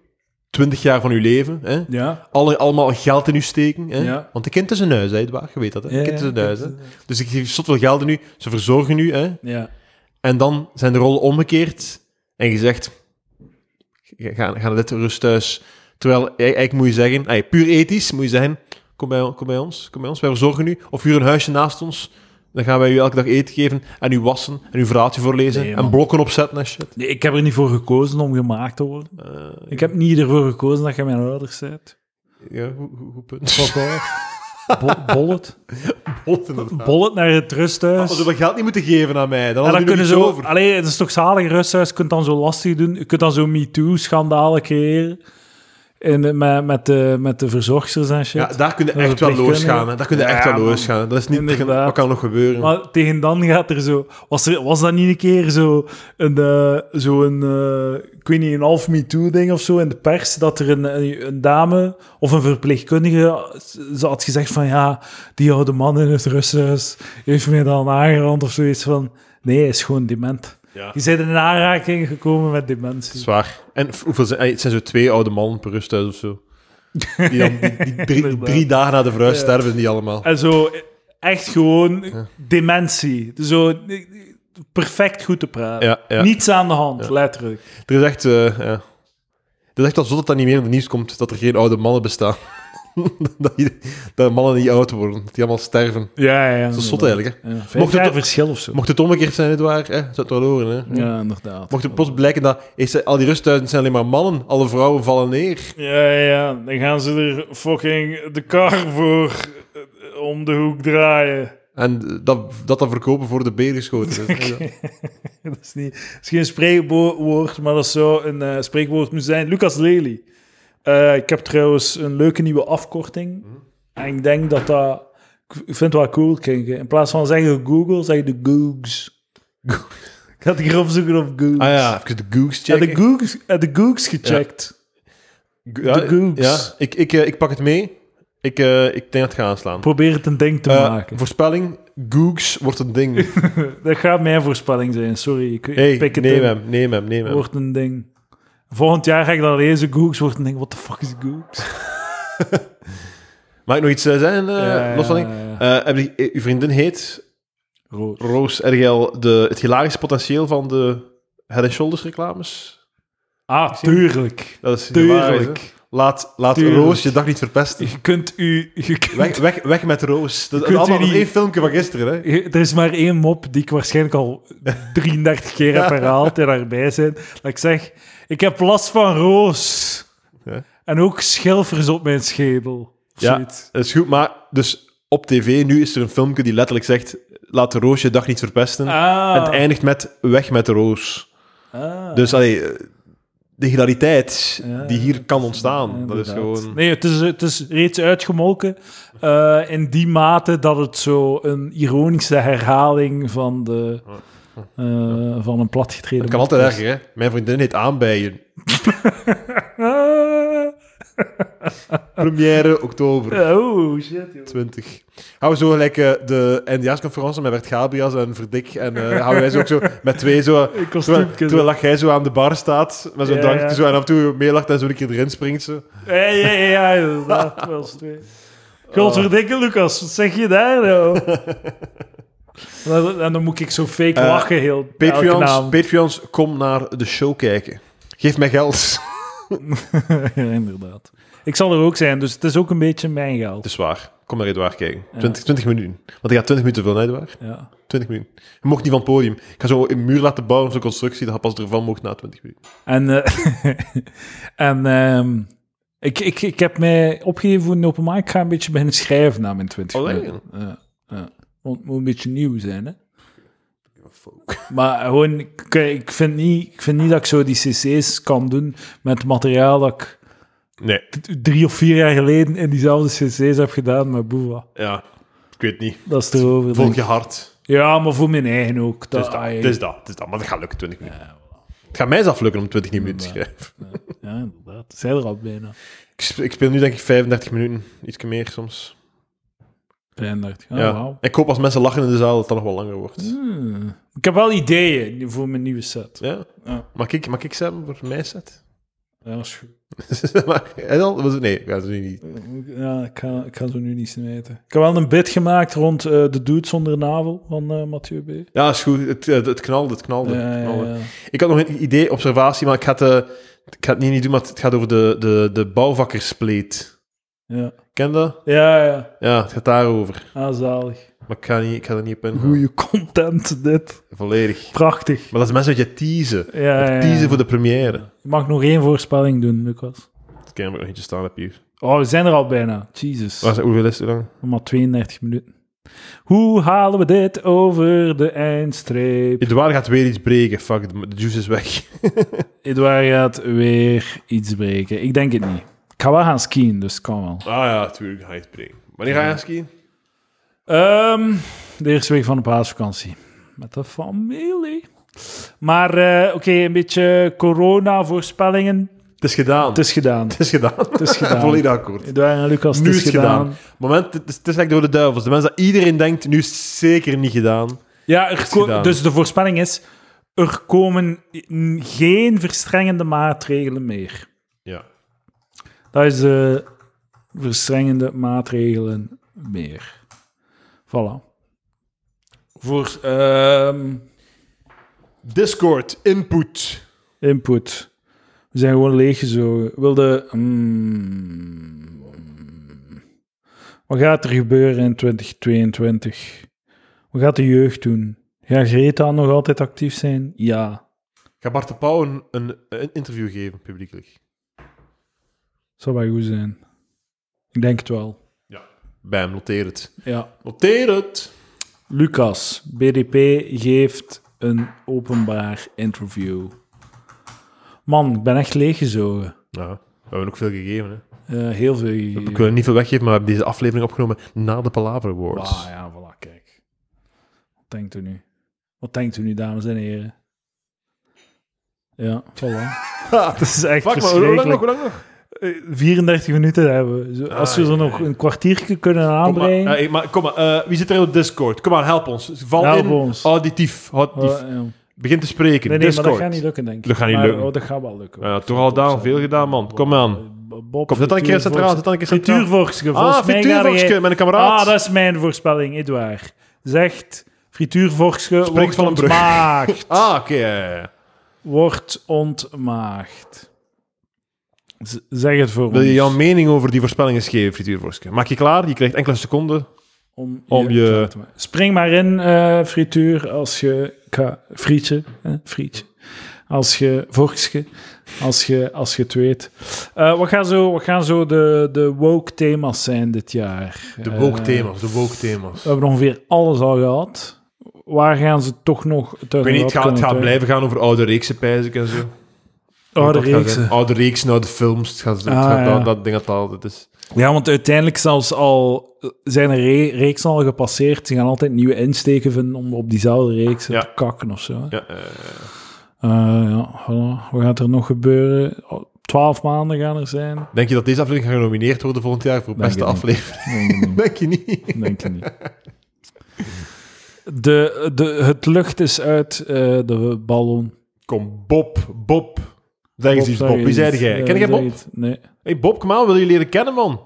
20 jaar van uw leven. Hè?
Ja.
alle, allemaal geld in u steken. Hè?
Ja.
Want de kind is een huis, hè, Edouard? Je weet dat, hè?
Ja,
Een kind is een
ja,
huis, hè?
kind is
Dus ik geef zot veel geld in u, ze verzorgen u, hè?
Ja.
En dan zijn de rollen omgekeerd en gezegd... Ga, ga naar dit rusthuis. Terwijl, e- eigenlijk moet je zeggen... ey, puur ethisch moet je zeggen... Kom bij, kom bij ons, kom bij ons, wij verzorgen u. Of huur een huisje naast ons. Dan gaan wij u elke dag eten geven en u wassen en uw verhaaltje voorlezen.
Nee, man.
en blokken opzetten en shit.
Nee, ik heb er niet voor gekozen om gemaakt te worden.
Eh,
Ik heb niet ervoor gekozen dat je mijn ouders bent.
ja, goed, goed- goed punt.
Fuck off. Bo- Bollet.
Bot, inderdaad.
Bollet naar het rusthuis.
Hadden ze dat geld niet moeten geven aan mij. Dan
En dan
hadden
kunnen
jullie
ze...
het over.
Allee, het is toch zalig rusthuis. Je kunt dan zo lastig doen. Je kunt dan zo MeToo-schandalen creëren. En eh, met, met, de, met de verzorgsters en shit.
Ja, daar kun je
Dat is
echt wel
verpleegkundige.
losgaan. hè. Daar kun je
Ja,
echt wel
man.
losgaan. Dat is niet...
Inderdaad.
Wat kan nog gebeuren?
Maar tegen dan gaat er zo... Was, er, was dat niet een keer zo een, eh, zo een eh, ik weet niet, een half MeToo-ding of zo in de pers, dat er een, een, een dame of een verpleegkundige ze had gezegd van ja, die oude man in het rusthuis heeft mij dan aangerand of zoiets van... Nee, hij is gewoon dement.
Ja.
Je bent in aanraking gekomen met dementie.
Zwaar. En f- hoeveel zijn, eh, het zijn zo twee oude mannen per rusthuis of zo. Die, dan, die, die drie,
Inderdaad.
drie dagen na de verhuis
Ja.
sterven die allemaal.
En zo echt gewoon dementie. Zo perfect goed te praten.
Ja, ja.
Niets aan de hand, letterlijk.
Er is echt... eh, ja. Het is echt al zo dat dat niet meer in het nieuws komt, dat er geen oude mannen bestaan. dat, ieder- dat mannen niet oud worden, dat die allemaal sterven.
Ja, ja.
Dat is zot eigenlijk, hè.
Ja, vijf
Mocht het
jaar
ook-
verschil of zo.
Mocht het omgekeerd zijn, het waar, hè? zou het wel horen, hè.
ja, inderdaad.
Mocht het plots blijken dat is, eh, al die rusthuizen zijn alleen maar mannen, alle vrouwen vallen neer.
Ja, ja, ja. Dan gaan ze er fucking de kar voor eh, om de hoek draaien.
En eh, dat dat dan verkopen voor de beren geschoten is. Ja.
dat, is niet, dat is geen spreekwoord, maar dat zou een eh, spreekwoord moeten zijn. Lucas Lely. Eh, ik heb trouwens een leuke nieuwe
Hm.
afkorting. En ik denk dat dat... Ik vind het wel cool klinken. In plaats van zeggen Google, zeg je de Googs. ik had hier opzoeken op Googs.
Ah ja, even de Googs
Ja,
checken.
de Googs, eh, de Googs gecheckt.
Go- ja,
de Googs.
Ja, ik, ik, eh, ik pak het mee. Ik, eh, ik denk dat het gaat aanslaan.
Probeer het een ding te
Eh,
maken.
voorspelling, Googs wordt een ding.
Dat gaat mijn voorspelling zijn. Sorry, ik, ik
Hey,
pik het
neem
in.
hem, neem hem, neem hem.
Wordt een ding. Volgend jaar ga ik dan lezen Googs wordt een ding. What the fuck is Googs?
Mag ik nog iets eh, zeggen, eh,
Ja, ja,
los van ding?
ja, ja.
Eh, heb je, eh, uw vriendin heet
Roos.
Roos RGL de, het hilarische potentieel van de Head and Shoulders reclames.
Ah, tuurlijk.
Dat is hilarisch, hè?
Tuurlijk.
Laat, laat
Tuurlijk.
Roos je dag niet verpesten.
Je kunt u... Je kunt-
Weg, weg, weg met Roos. Dat is
kunt u
allemaal in
niet-
één filmpje van gisteren. Hè?
je- er is maar één mop die ik waarschijnlijk al 33 keer heb herhaald en daarbij zijn. Dat ik zeg, ik heb last van roos.
Ja.
En ook schilfers op mijn schedel. Of
Ja.
zoiets.
Dat is goed, maar dus op tv nu is er een filmpje die letterlijk zegt laat Roos je dag niet verpesten.
Ah.
En het eindigt met weg met Roos.
Ah.
Dus allee, eh, de hilariteit
Ja,
die hier kan ontstaan,
Ja,
dat is
inderdaad.
gewoon...
Nee, het is, het is reeds uitgemolken. eh, in die mate dat het zo een ironische herhaling van, de, eh, van een platgetreden.
Het kan altijd erger, hè? Mijn vriendin heet aanbijen.
Ah.
Première oktober.
oh, shit, joh.
20. Hou zo gelijk eh, de NDA's-conferentie met Bert Gabrias en Verdik. En eh houden wij zo ook zo met twee zo...
Een
Terwijl,
kostuumke.
terwijl dat jij zo aan de bar staat, met zo'n
Ja,
drankje
ja.
zo en af en toe meelacht en zo een keer erin springt. Zo.
Ja, ja, ja, ja, inderdaad. wel eens twee. Godverdikke, Lucas, wat zeg je daar nou? En dan- En dan moet ik zo fake
Eh,
lachen, heel elke
Patreons,
naam.
Patreons, kom naar de show kijken. Geef mij geld.
ja, inderdaad. Ik zal er ook zijn, dus het is ook een beetje mijn
Het
geld.
is waar. Kom naar Edouard kijken. 20, 20 minuten. Want ik ga 20 minuten veel naar Edouard.
Ja.
20 minuten. Je mocht niet van het podium. Ik ga zo een muur laten bouwen, zo'n constructie, dat je pas ervan mocht na 20 minuten.
En, eh, en ehm, ik, ik, ik heb mij opgegeven voor een open mic. Ik ga een beetje beginnen schrijven na mijn 20
Oh, leuk.
minuten. Ja, ja. Want het moet een beetje nieuw zijn, hè. Maar gewoon, ik, ik, vind niet, ik vind niet dat ik zo die cc's kan doen met materiaal dat ik
Nee,
d- drie of vier jaar geleden in diezelfde cc's heb gedaan met Boeva.
ja. Ik weet niet.
Dat is erover. denk
Volg
ik.
je hart.
Ja, maar voor mijn eigen ook.
Het
Dat,
is dat.
ah,
Het is dat. Het is dat. Maar dat gaat lukken, 20 minuten. Het gaat mij zelf lukken om 20 minuten te schrijven.
Ja, inderdaad. Zij er al bijna.
Ik sp- ik speel nu denk ik 35 minuten. Iets meer soms.
35. Oh,
ja.
wauw.
Ik hoop als mensen lachen in de zaal dat dat nog wel langer wordt.
Hmm. Ik heb wel ideeën voor mijn nieuwe set.
Ja?
Ja.
Mag ik, mag ik Sam voor mijn set?
Ja, dat is goed.
maar, Dus en dan, was het- nee, dat is nu niet.
Ja, ik ga, ik ga zo nu niet snijden. Ik heb wel een bit gemaakt rond eh, de Dude zonder navel van eh, Mathieu B.
Ja, is goed. Het, eh, het knalde, het knalde.
Ja,
het
ja,
knalde.
ja.
Ik had nog een idee, observatie, maar ik ga het, eh, ik ga het niet, niet doen, maar het gaat over de, de, de bouwvakkerspleet.
Ja,
Ken dat?
ja. ja.
Ja, het gaat daarover.
Ah, zalig.
Maar ik ga, niet, ik ga er niet op ingaan.
Goeie content, dit.
Volledig.
Prachtig.
Maar dat is mensen wat je teasen.
Ja, ja, ja.
Teasen voor de première.
Je mag nog één voorspelling doen, Lucas.
Dat kan ik nog eentje staan heb hier.
Oh, we zijn er al bijna. Jesus.
Waar is- Hoeveel is het lang?
Nog maar 32 minuten. Hoe halen we dit over de eindstreep?
Edouard gaat weer iets breken. Fuck, de de juice is weg.
Edouard gaat weer iets breken. Ik denk het niet. Ik ga wel gaan skiën, dus het kan wel.
Ah ja, natuurlijk ga je iets breken. Wanneer ga je skiën?
Ehm, de eerste week van de paasvakantie. Met de familie. Maar eh, oké, een beetje corona-voorspellingen.
Het is gedaan.
Het is gedaan.
Het is gedaan.
Het is gedaan.
Volledig akkoord.
Edouard en Lucas, het
nu
is, gedaan.
Moment, het is, het is like door de duivels. De mensen dat iedereen denkt, nu is het zeker niet gedaan.
Ja, er ko-
gedaan.
dus de voorspelling is... Er komen n- geen verstrengende maatregelen meer.
Ja.
Dat is de verstrengende maatregelen meer. Voilà. Voor ehm,
Discord, input.
input. We zijn gewoon leeggezogen. Wilde. mm, wat gaat er gebeuren in 2022? Wat gaat de jeugd doen? Gaat Greta nog altijd actief zijn? Ja.
Ga Bart de Pauw een, een, een interview geven, publiekelijk?
Zou wel goed zijn. Ik denk het wel.
Bij hem, noteer het.
Ja.
Noteer het!
Lucas, BDP geeft een openbaar interview. Man, ik ben echt leeggezogen.
Ja, we hebben ook veel gegeven. Hè.
Eh, heel veel.
Ik wil er niet veel weggeven, maar we hebben deze aflevering opgenomen na de Palaver Awards.
Ah, ja, voilà, kijk. Wat denkt u nu? Wat denkt u nu, dames en heren? Ja, voilà. Het is echt
Fuck, maar hoe lang nog?
verschrikkelijk.
Hoe lang nog?
Eh, 34 minuten hebben we. Zo, Als we
Ah,
er
ja,
nog een kwartiertje kunnen
Kom maar,
aanbrengen...
hey, maar, kom maar eh, wie zit er op Discord? Kom maar, help ons. Val
Help
in,
nou,
Oh,
ons.
auditief. auditief.
Oh, ja. Nee,
Begin te spreken,
nee, maar
Discord.
dat gaat niet lukken, denk ik.
Dat gaat niet
Maar,
lukken.
Oh, dat gaat wel lukken. Eh,
Ja, toch al daar veel gedaan, man. Kom aan.
Bob,
Kom, zet dan een keer centraal, zet dan een keer centraal.
Frituurvorkske, volgens
Ah,
mij ga jij-
Frituurvorkske, mijn kameraad.
Ah, dat is mijn voorspelling, Edouard. Zegt Frituurvorkje
Springt
wordt
van een brug.
ontmaagd.
Ah, oké. ja, ja, ja.
Wordt ontmaagd. Z- zeg het voor
Wil je
ons.
jouw mening over die voorspellingen geven, frituurvorstje? Maak je klaar, je krijgt enkele seconden.
om,
om
je
je-
klaar te maken. Spring maar in, eh, frituur, als je... ka- frietje, eh, frietje. Als je... Vorkje. Als je, als je het weet. Eh, wat gaan zo, wat gaan zo de, de woke thema's zijn dit jaar?
De
Eh,
woke thema's, de woke thema's.
we hebben ongeveer alles al gehad. Waar gaan ze toch nog...
Ik weet niet, het gaat, het gaat blijven gaan over oude reeksen, pijs ik en zo.
Oh, de
Dat gaat
reeksen.
zijn. Oude reeksen, oude films. Het gaat, het
Ah,
gaat-
ja.
dat, dat ding dat altijd is.
Ja, want uiteindelijk zelfs al eh, zijn er re- reeksen al gepasseerd. Ze gaan altijd nieuwe insteken vinden om op diezelfde reeks
Ja.
te kakken of zo. hè.
Ja, eh,
Eh, ja, voilà. Wat gaat er nog gebeuren? Oh, Twaalf maanden gaan er zijn.
denk je dat deze aflevering gaat genomineerd worden volgend jaar voor
Denk
beste
het niet.
aflevering?
Denk ik niet.
Denk je niet?
Denk ik niet. De, de, het lucht is uit eh, de ballon.
Kom, Bob, Bob. Zeg eens
Bob,
iets,
zeg
Bob. Wie
iets.
zei jij?
Eh,
Ken jij
zeg
Bob?
iets. Nee.
Hey Bob, kom aan, wil je leren kennen, man?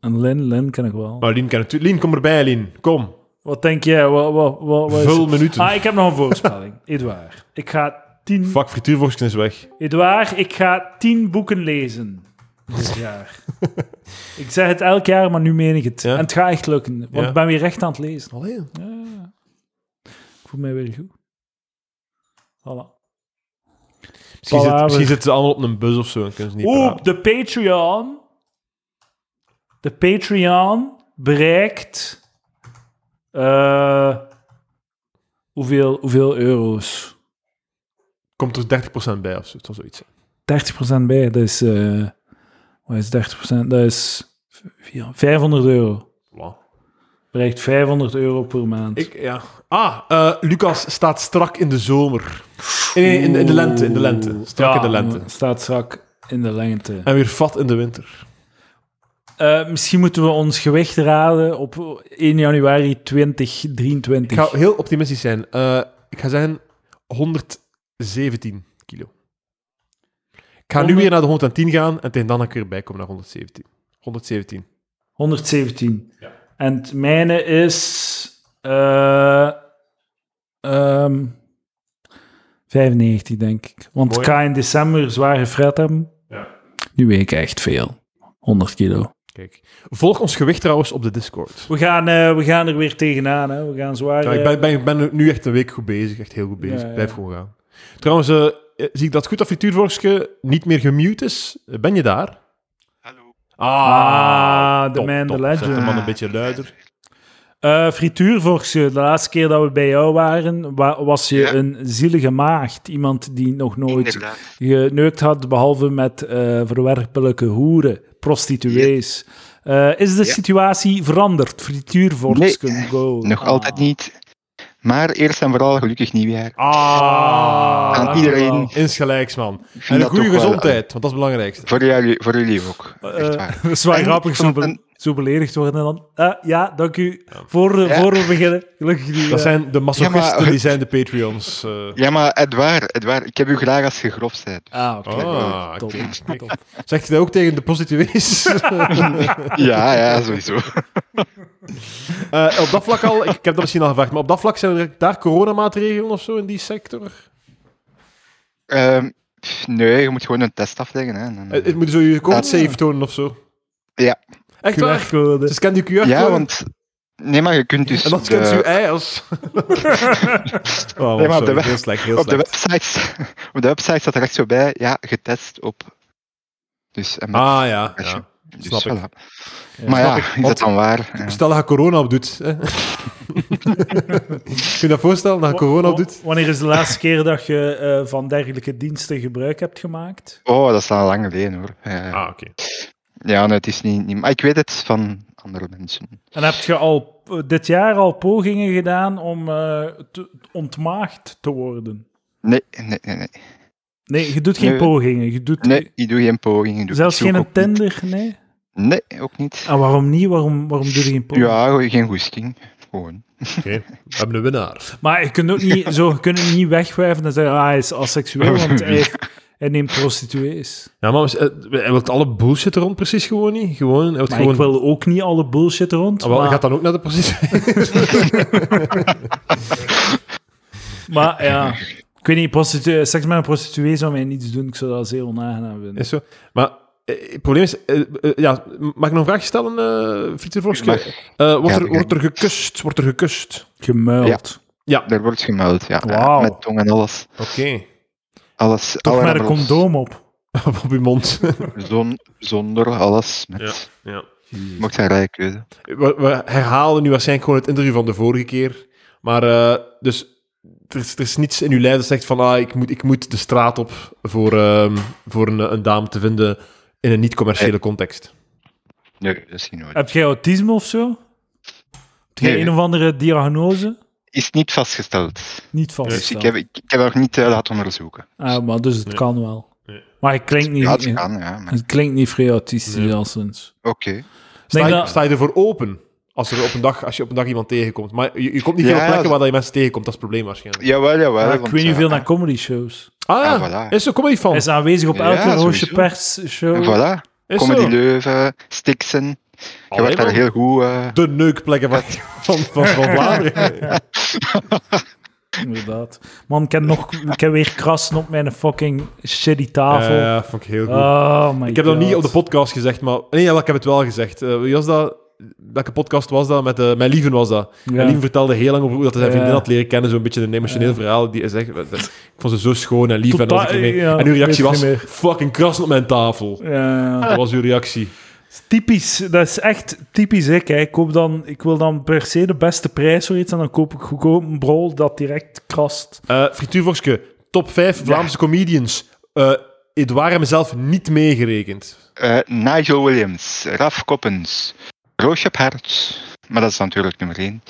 En Lin, Lin ken ik wel.
Maar Lien kent het. Lien, kom erbij, Lien. Kom.
Wat denk jij? Wat, wat, wat, wat is-
Vul minuten.
Ah, ik heb nog een voorspelling. Edouard. Ik ga tien...
Fuck, frituurvorstje is weg.
Edouard, ik ga tien boeken lezen dit jaar. ik zeg het elk jaar, maar nu meen ik het.
Ja.
En het gaat echt lukken, want
Ja.
ik ben weer recht aan het lezen.
Alleen.
Ja. Ik voel mij weer goed. Voilà.
Misschien, zit,
Palaver.
misschien zitten ze allemaal op een bus of zo en kunnen ze niet
Oeh,
praten.
de Patreon. De Patreon bereikt. eh, hoeveel, hoeveel euro's?
Komt er 30% bij of zo. Het zal zoiets zijn.
30% bij, dat is. eh, wat is 30%? Dat is. vier- 500 euro.
Voilà.
Bereikt 500 euro per maand.
Ik, ja. Ah, eh, Lucas staat strak in de zomer. Nee, nee, in, in de lente, in de lente. Strak
Ja,
in de lente.
Staat strak in de lente.
En weer vat in de winter.
Eh, misschien moeten we ons gewicht raden op 1 januari 2023.
Ik ga heel optimistisch zijn. Eh, ik ga zeggen 117 kilo. Ik ga nu
Honderd-
weer naar de 110 gaan en tegen dan ga ik weer bijkomen naar 117. 117.
117.
Ja.
En het mijne is eh, ehm, 95, denk ik. Want
Mooi.
ik ga in december zware fret hebben.
Ja.
Nu week echt veel. 100 kilo.
Kijk. Volg ons gewicht trouwens op de Discord.
We gaan, eh, we gaan er weer tegenaan. Hè. We gaan zwaar.
Ja, ik
eh,
ben, ben, ben nu echt een week goed bezig. Echt heel goed bezig.
Ja, ja.
Blijf gewoon gaan. Trouwens, eh, zie ik dat goed dat Frituurvorstje niet meer gemute is? Eh, Ben je daar?
Hallo.
Ah, de
top,
man,
top.
the legend.
Zet hem man een beetje luider.
Eh, frituurvorstje, de laatste keer dat we bij jou waren, wa- was je
Ja.
een zielige maagd. Iemand die nog nooit
Inderdaad.
geneukt had, behalve met eh, verwerpelijke hoeren, prostituees. Eh, is de
Ja.
situatie veranderd? Frituurvorstje, go.
Nog
Ah.
altijd niet. Maar eerst en vooral gelukkig nieuwjaar.
Ah,
Aan
dank
iedereen.
je wel.
Insgelijks, man.
Ik vind
En een
dat
goede
toch wel- eh,
gezondheid, want dat is het belangrijkste.
voor, jullie, voor jullie ook. Echt
Eh,
waar.
dat is wel
En ik
grappig, zo,
vond
be-
een-
zo beledigd worden en dan... eh, ja, dank u. Voor, eh,
Ja.
voor we beginnen, gelukkig eh. nieuwjaar.
Dat zijn de masochisten,
Ja, maar-
die zijn de Patreons. eh.
Ja, maar Edouard, Edouard, ik heb u graag als je grof bent.
Ah, oké.
Ah,
top,
oké.
top, top.
Zeg je dat ook tegen de prostituees?
Ja, ja, sowieso.
Eh, op dat vlak al, ik, ik heb dat misschien al gevraagd, maar op dat vlak zijn er daar coronamaatregelen of zo in die sector?
Ehm, pff, nee, je moet gewoon een test afleggen. Hè. En dan-
Het, het Eh, moet zo je
Dat-
COVID-safe tonen of zo.
Ja.
Echt waar? Dus-
QR-code.
Ze scannen je QR-code
ja, want... Nee, maar je kunt dus...
eh, en dan scant
de-
je eiers. oh,
Nee, maar op de
sorry,
weg-
heel slecht, heel
op, de
slecht.
website, op de website staat er echt zo bij, ja, getest op... Dus, en met-
Ah ja, ja.
dus
snap ik.
voilà. maar ja,
snap ik.
is
Want-
dat dan waar? Ja.
Stel dat je corona op doet. Hè? Kun je dat voorstellen, dat je corona op doet?
W- w- Wanneer is de laatste keer dat je eh, van dergelijke diensten gebruik hebt gemaakt?
Oh, dat is al lang geleden hoor. Ja, ja.
Ah, oké.
Ja, nee, het is niet, niet. Maar ik weet het van andere mensen.
En heb je al eh, dit jaar al pogingen gedaan om eh, te- ontmaagd te worden?
Nee, nee, nee. Nee,
Nee, je doet geen
Nee.
pogingen. Je doet
nee ik doe geen poging. Ik doe
zelfs
ik zoek
geen Ah,
ook niet.
Tinder, nee?
Nee, ook niet.
En waarom niet? Waarom, waarom doe je geen pogingen?
Ja, gewoon geen goesting. Gewoon.
Oké, we hebben een winnaar.
Maar je kunt ook niet, zo, je kunt hem niet wegwijven en zeggen, ah, hij is asexueel, want hij heeft, Hij neemt prostituees.
Ja, maar is- eh, hij wil alle bullshit rond precies gewoon niet. Gewoon, hij wil
Maar
gewoon...
ik wil ook niet alle bullshit rond.
Ah, wel,
maar,
Gaat dan ook naar de precies?
maar ja, ik weet niet, prostitu- seks met een prostituee zou mij niets doen. Ik zou dat zeer onaangenaam vinden.
Is zo. Maar eh, het probleem is... eh, eh, ja, mag ik nog een vraag stellen, eh Victor Vorske?
Mag.
Eh, wordt,
Ja,
er,
dat
wordt er gekust? Wordt er gekust?
Gemuild.
Ja.
Er wordt gemuild, ja. ja,
Wauw.
met tong en alles.
Oké.
alles
Toch
alle
met een
remmen los.
condoom op.
Op uw mond.
Zon, zonder alles. Met,
ja.
Mocht zijn rare keuze.
We, we herhalen nu waarschijnlijk gewoon het interview van de vorige keer. Maar eh, dus er is, er is niets in uw lijf dat zegt van ah, ik, moet, ik moet de straat op voor, ehm, voor een, een dame te vinden in een niet-commerciële context.
Nee, dat is niet nodig.
Heb jij autisme of zo? Heb jij
Nee.
een of andere diagnose?
Is niet vastgesteld.
Niet
Dus ik
vastgesteld.
heb, ik, ik heb nog niet eh, laten onderzoeken.
Ah, maar dus het
Nee.
kan wel.
Nee.
Maar het klinkt niet,
Ja, het kan, ja. maar-
het klinkt niet vrij autistisch
Nee.
als eens.
Oké.
Sta
Denk
je,
dat-
sta je ervoor open als, er op een dag, als je op een dag iemand tegenkomt? Maar je, je komt niet
Ja,
veel op plekken
dat-
waar dat je mensen tegenkomt, dat is het probleem waarschijnlijk.
Jawel, jawel.
Ja, ik
want,
weet niet
eh,
veel naar comedy shows.
Ah ja,
Ah, voilà.
is er comedy van?
Hij is aanwezig op
Ja,
elke Roosje
sowieso.
Pers show.
Voilà.
Is
Comedy
zo.
Leuven, Stixen. Je
Allee,
wordt daar
man.
heel goed... eh,
De neukplekken van, van, van, van Vlaanderen.
Inderdaad. Man, ik heb, nog, ik heb weer krassen op mijn fucking shitty
Ah,
tafel.
Ja, vond ik heel goed.
oh my
Ik heb dat
God.
niet op de podcast gezegd, maar... Nee, ja, wel, ik heb het wel gezegd. Eh, wie was dat? Welke podcast was dat? Met, eh, mijn lieven was dat. Mijn lieven vertelde heel lang over hoe dat hij zijn
Ja.
vriendin had leren kennen. Zo'n beetje een emotioneel
Ja.
verhaal. Die hij zegt, eh, dat- ik vond ze zo schoon en lief. en,
Totaal-
was ik ermee.
ja,
en uw reactie
weet ik niet
was,
meer.
fucking kras op mijn tafel.
Ja.
Dat was uw reactie.
Typisch, dat is echt typisch ik. Hè. Ik, koop dan, ik wil dan per se de beste prijs voor iets en dan koop ik goedkoop een brol dat direct krast.
Eh Frituurvorske, top 5 Vlaamse comedians. Eh Edouard en mezelf niet meegerekend.
eh, Nigel Williams, Raf Koppens, Roosje Perts. Maar dat is natuurlijk nummer één.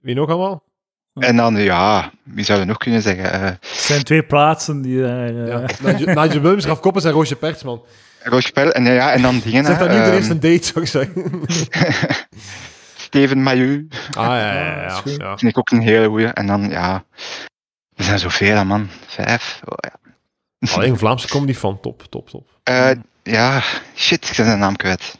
Wie nog allemaal?
En dan, ja, wie zou je nog kunnen zeggen? Eh,
Het zijn twee plaatsen die daar... eh,
Ja. Nigel- Nigel Williams, Raf Koppens en Roosje Pertsman.
Roosje Perts. En, ja, en dan dingen,
Zeg dat
hè,
niet de
ehm,
eerste date, zou ik zeggen.
Steven Maillu.
Ah, ja,
Ah,
ja, ja.
is
ja,
goed.
ja.
Vind ik ook een hele goeie. En dan, ja... Er zijn zoveel, hè, man. Vijf. Oh, ja.
Alleen Vlaamse comedy van top, top, top.
Eh, ja, shit, ik ben zijn naam kwijt.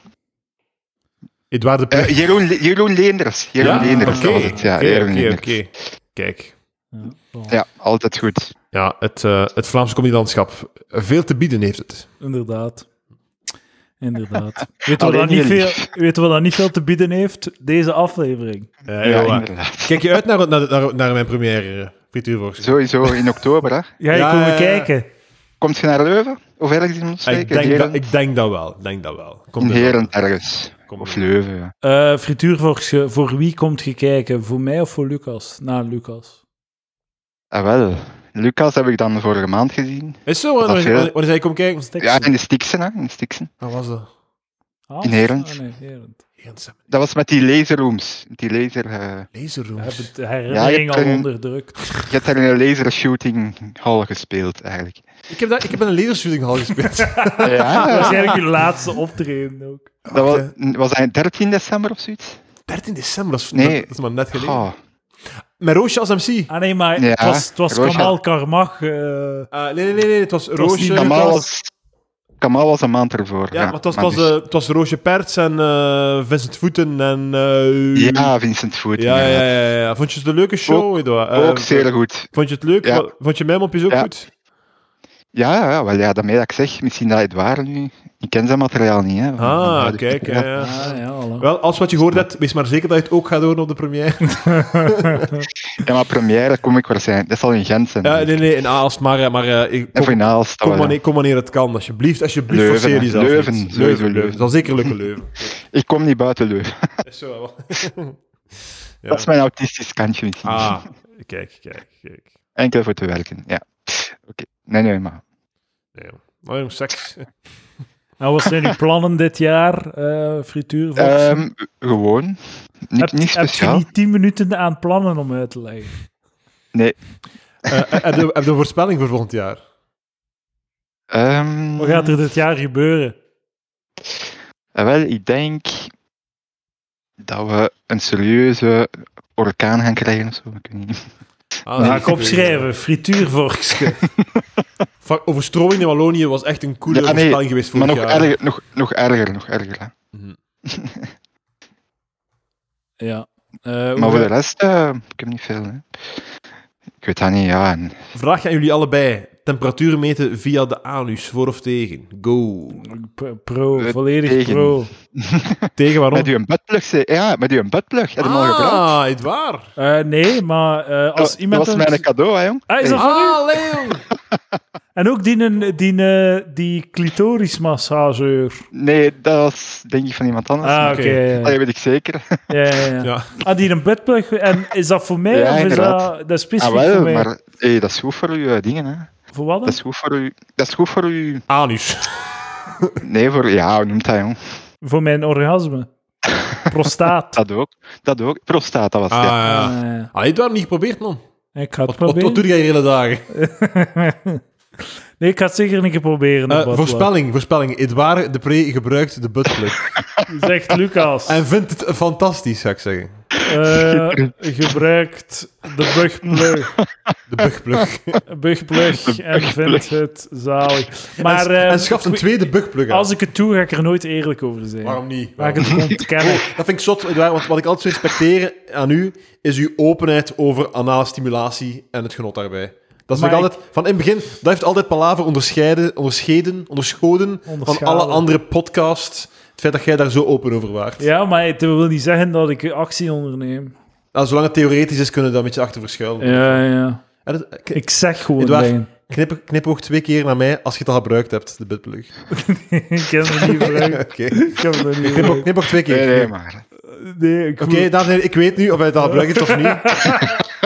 Edouard de
Eh,
Pre-
Jeroen, Le- Jeroen Leenders. Jeroen
Ja,
Leenders,
oké,
dat was het. Ja,
oké,
Jeroen
oké,
Leenders.
oké. Kijk,
ja, bon.
Ja, altijd goed.
ja, het, eh, het Vlaamse comedylandschap. Veel te bieden heeft het.
Inderdaad. Inderdaad. Weet wat
Alleen
dat niet
jullie.
veel, weet wat dat niet veel te bieden heeft? Deze aflevering.
Ja,
Ja,
joh.
inderdaad.
Eh, Kijk je uit naar, naar, naar, naar mijn première, eh, Frituurworst?
Sowieso in oktober, hè.
Ga je
Ja,
komen
ja, ja.
kijken?
Komt je naar Leuven? Of ergens in ons
Ah, Ik
steken?
denk,
Heren-
dat, ik denk dat wel. ik Denk dat wel. Komt
in
er wel.
Heren ergens.
Komt
Of
er wel.
Leuven, ja.
Eh frituur voor, voor wie komt je kijken? Voor mij of voor Lucas? Na Lucas.
Ah, wel. Lucas heb ik dan vorige maand gezien.
Is zo, wanneer,
Dat is heel-
wanneer, wanneer zei je kom kijken?
Ja, in de Stiksen, hè. In de Stiksen.
Wat was dat?
Ah,
in Herent.
ah, nee, Herent.
Dat was met die laserrooms. Die laser... eh,
We hebben
Laserrooms.
de herinnering
Ja, je
al
kunt-
onderdrukt.
Je hebt daar in een lasershooting hall gespeeld, eigenlijk.
Ik heb, dat, ik heb in een lasershootinghal gespeeld.
Ja,
Waarschijnlijk je laatste optreden ook.
dat was, was dat 13 december of zoiets?
13 december, dat is,
Nee.
dat is maar net geleden.
Oh,
Met Roosje als MC.
Ah nee, maar
Ja,
het was, het was
Roosje.
Kamal Karmach. eh,
Eh, nee, nee, nee, nee, het was
was
Roosje.
niet
Kamal was, Kamal was een maand ervoor.
Ja, maar het was, het
maar
was,
dus-
eh, het was Roosje Perts en eh, Vincent Voeten en... eh,
ja, Vincent Voet.
ja, ja,
inderdaad.
ja, ja, ja. Vond je het een leuke show, Edouard? Eh,
Ook zeer goed.
Vond je het leuk?
Ja.
Wa- Vond je mijn mopjes ook
Ja.
goed?
Ja, ja, ja, wel, ja, daarmee dat ik zeg, misschien dat het waar nu. Ik ken zijn materiaal niet. Hè,
Ah, kijk. ja, ja.
ah, ja, voilà.
Wel, als wat je gehoord hebt, wees maar zeker dat je het ook gaat horen op de première.
Ja, maar première kom ik waarschijnlijk. Dat zal in Gent zijn.
Ja, nee, nee, in Aalst, maar... eh, maar eh, ik-
Of
kom,
in Aalst.
kom,
dat wel, ja.
wanneer, kom wanneer het kan, alsjeblieft. Alsjeblieft,
Leuven,
forceer
hè.
jezelf
Leuven,
niet.
sowieso
Leuven, Leuven.
Leuven.
Dat is zeker lukken, Leuven.
Ik kom niet buiten Leuven.
Is zo, wel. Ja.
Dat is mijn autistisch kantje misschien.
Ah, kijk, kijk, kijk.
Enkel voor te werken, ja. Oké, nee, nee, maar...
Nee, joh. Nou, jong, seks.
En wat zijn uw plannen dit jaar, eh frituur?
Ehm, gewoon. Niet,
heb,
niet
heb je
speciaal.
niet tien minuten aan plannen om uit te leggen?
Eh, heb, je, heb je een voorspelling voor volgend jaar?
Ehm,
Wat gaat er dit jaar gebeuren?
Eh, Wel, ik denk dat we een serieuze orkaan gaan krijgen of zo. Ik weet niet.
Ah,
Ga
nee,
ik opschrijven, frituurvorkske.
Fuck, overstroming in Wallonië was echt een coole
Ja, nee,
voorspelling geweest
Maar
vorig
nog
jaar.
erger, nog, nog erger, nog erger. Hè.
Mhm.
ja. Eh,
Maar
hoe-
voor de rest, eh, ik heb niet veel. Hè. Ik weet dat niet, ja. En
Vraag aan jullie allebei. Temperatuur meten via de anus, voor of tegen? Go.
Pro, pro,
Eh,
volledig
tegen.
pro.
Tegen waarom?
Met uw bedplug, zei- ja, met uw bedplug. Heb je hem al gebruikt?
ah, het waar.
Eh, nee, maar eh, als iemand...
Dat
een-
was mijn cadeau, hè, jong.
Ah, is dat van u?
Ah, Leon.
En ook die, een- die, eh, die clitorismassageur.
Nee, dat was denk ik van iemand anders.
Ah,
maar-
oké.
oké.
Dat weet ik zeker.
Ja, ja, ja.
Ja.
Ah, die een bedplug. En is dat voor mij
Ja,
of is dat,
inderdaad.
dat is specifiek
Ah, wel,
voor mij?
maar hey, dat is goed voor uw eh, dingen, hè.
Voor wat dan?
Dat is goed voor u. Dat is goed voor u.
Anus.
Nee, voor. Ja, hoe noemt dat, jong?
Voor mijn orgasme. Prostaat.
Dat ook. Dat ook. Prostaat, dat was
Ah,
het, ja.
ja.
Eh,
Allee, het waren niet geprobeerd, man.
ik ga het
Wat, wat, wat doe
proberen.
jij de hele dagen?
nee, ik ga het zeker een keer proberen.
Eh,
op wat
voorspelling, voorspelling. Edouard de Pre gebruikt de buttplug.
wel. Zegt Lucas.
en vindt het fantastisch, zou ik zeggen.
Eh, gebruikt de bugplug,
De bugplug.
bugplug en vindt het zalig. Maar
en,
eh,
en schaft een tweede bugplug aan.
als ik het doe, ga ik er nooit eerlijk over zijn.
Waarom niet?
Ga ik
Waarom
het gewoon ontkennen.
Oh, dat vind ik zot, Edouard, want wat ik altijd respecteer aan u, is uw openheid over anale stimulatie en het genot daarbij. Dat is
Maar
ik altijd, van in het begin, dat heeft altijd Palaver onderscheiden, onderscheiden, onderschoten van
Onderschalen.
alle andere podcasts. Het feit dat jij daar zo open over waart.
Ja, maar het wil niet zeggen dat ik actie onderneem.
Nou, zolang het theoretisch is, kunnen we daar een beetje achter verschuilen.
Ja, ja.
En het- k-
Ik zeg gewoon
Edouard.
dingen.
knip, knip ook twee keer naar mij als je het al gebruikt hebt, de bitplug.
ik ken het niet gebruikt.
Oké.
Ik heb het nog niet
Knip, ook-
gebruikt.
knip ook twee keer.
Nee, nee, maar.
Nee, ik
Oké, dames en heren, ik weet nu of hij het al gebruikt heeft of niet.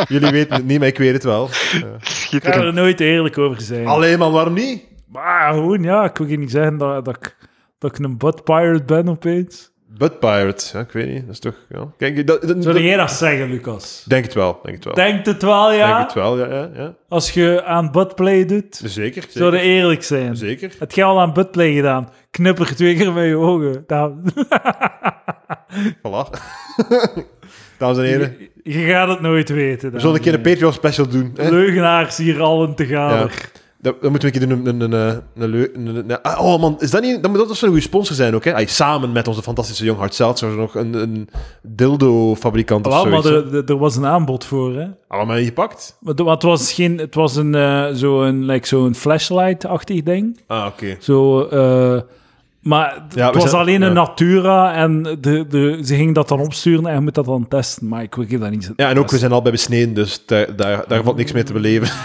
Jullie weten het niet, maar ik weet het wel.
ik ga
Schitterend.
er nooit eerlijk over zijn.
Alleen man, waarom niet?
Maar gewoon, ja, ik wil je niet zeggen dat, dat, ik, dat ik een butt pirate ben opeens.
Bud Pirate, ja, ik weet niet. Dat is toch. Ja. Kijk, dat, dat-
Zou
dat-
jij dat zeggen, Lucas?
Denk het wel, denk het wel.
Denk het wel, ja?
Denk het wel, ja, ja. ja.
Als je aan buttplay doet,
Zeker. Zeker.
zou je eerlijk zijn.
zeker.
Het jij al aan buttplay gedaan? Knipper twee keer met je ogen. Nou, Daar-
Voilà. Dames en heren,
je, je gaat het nooit weten.
we zullen een keer een Patreon special doen. Hè?
Leugenaars hier allen te gaan.
Dat, dat moeten we een keer doen. Een, een, een, eh, een, leu- een, een- een- ah, oh man, is dat niet. Dat moet dat zo'n goede sponsor zijn ook, hè? Ay, samen met onze fantastische Young Hart Seltzer nog een, een dildo-fabrikant of
Wel, maar
zoiets. hè.
er, er- er was een aanbod voor, hè?
Ah, maar niet gepakt.
Maar het was, geen, het was een, eh, zo'n like, zo'n flashlight-achtig ding.
Ah, oké.
Zo, eh, maar het
Ja, we
was
zijn-
alleen een
ja.
Natura en de, de, ze gingen dat dan opsturen en je moet dat dan testen. Maar ik wil je dat niet
Ja, en ook we zijn al bij besneden, dus daar, daar, daar valt niks mee te beleven.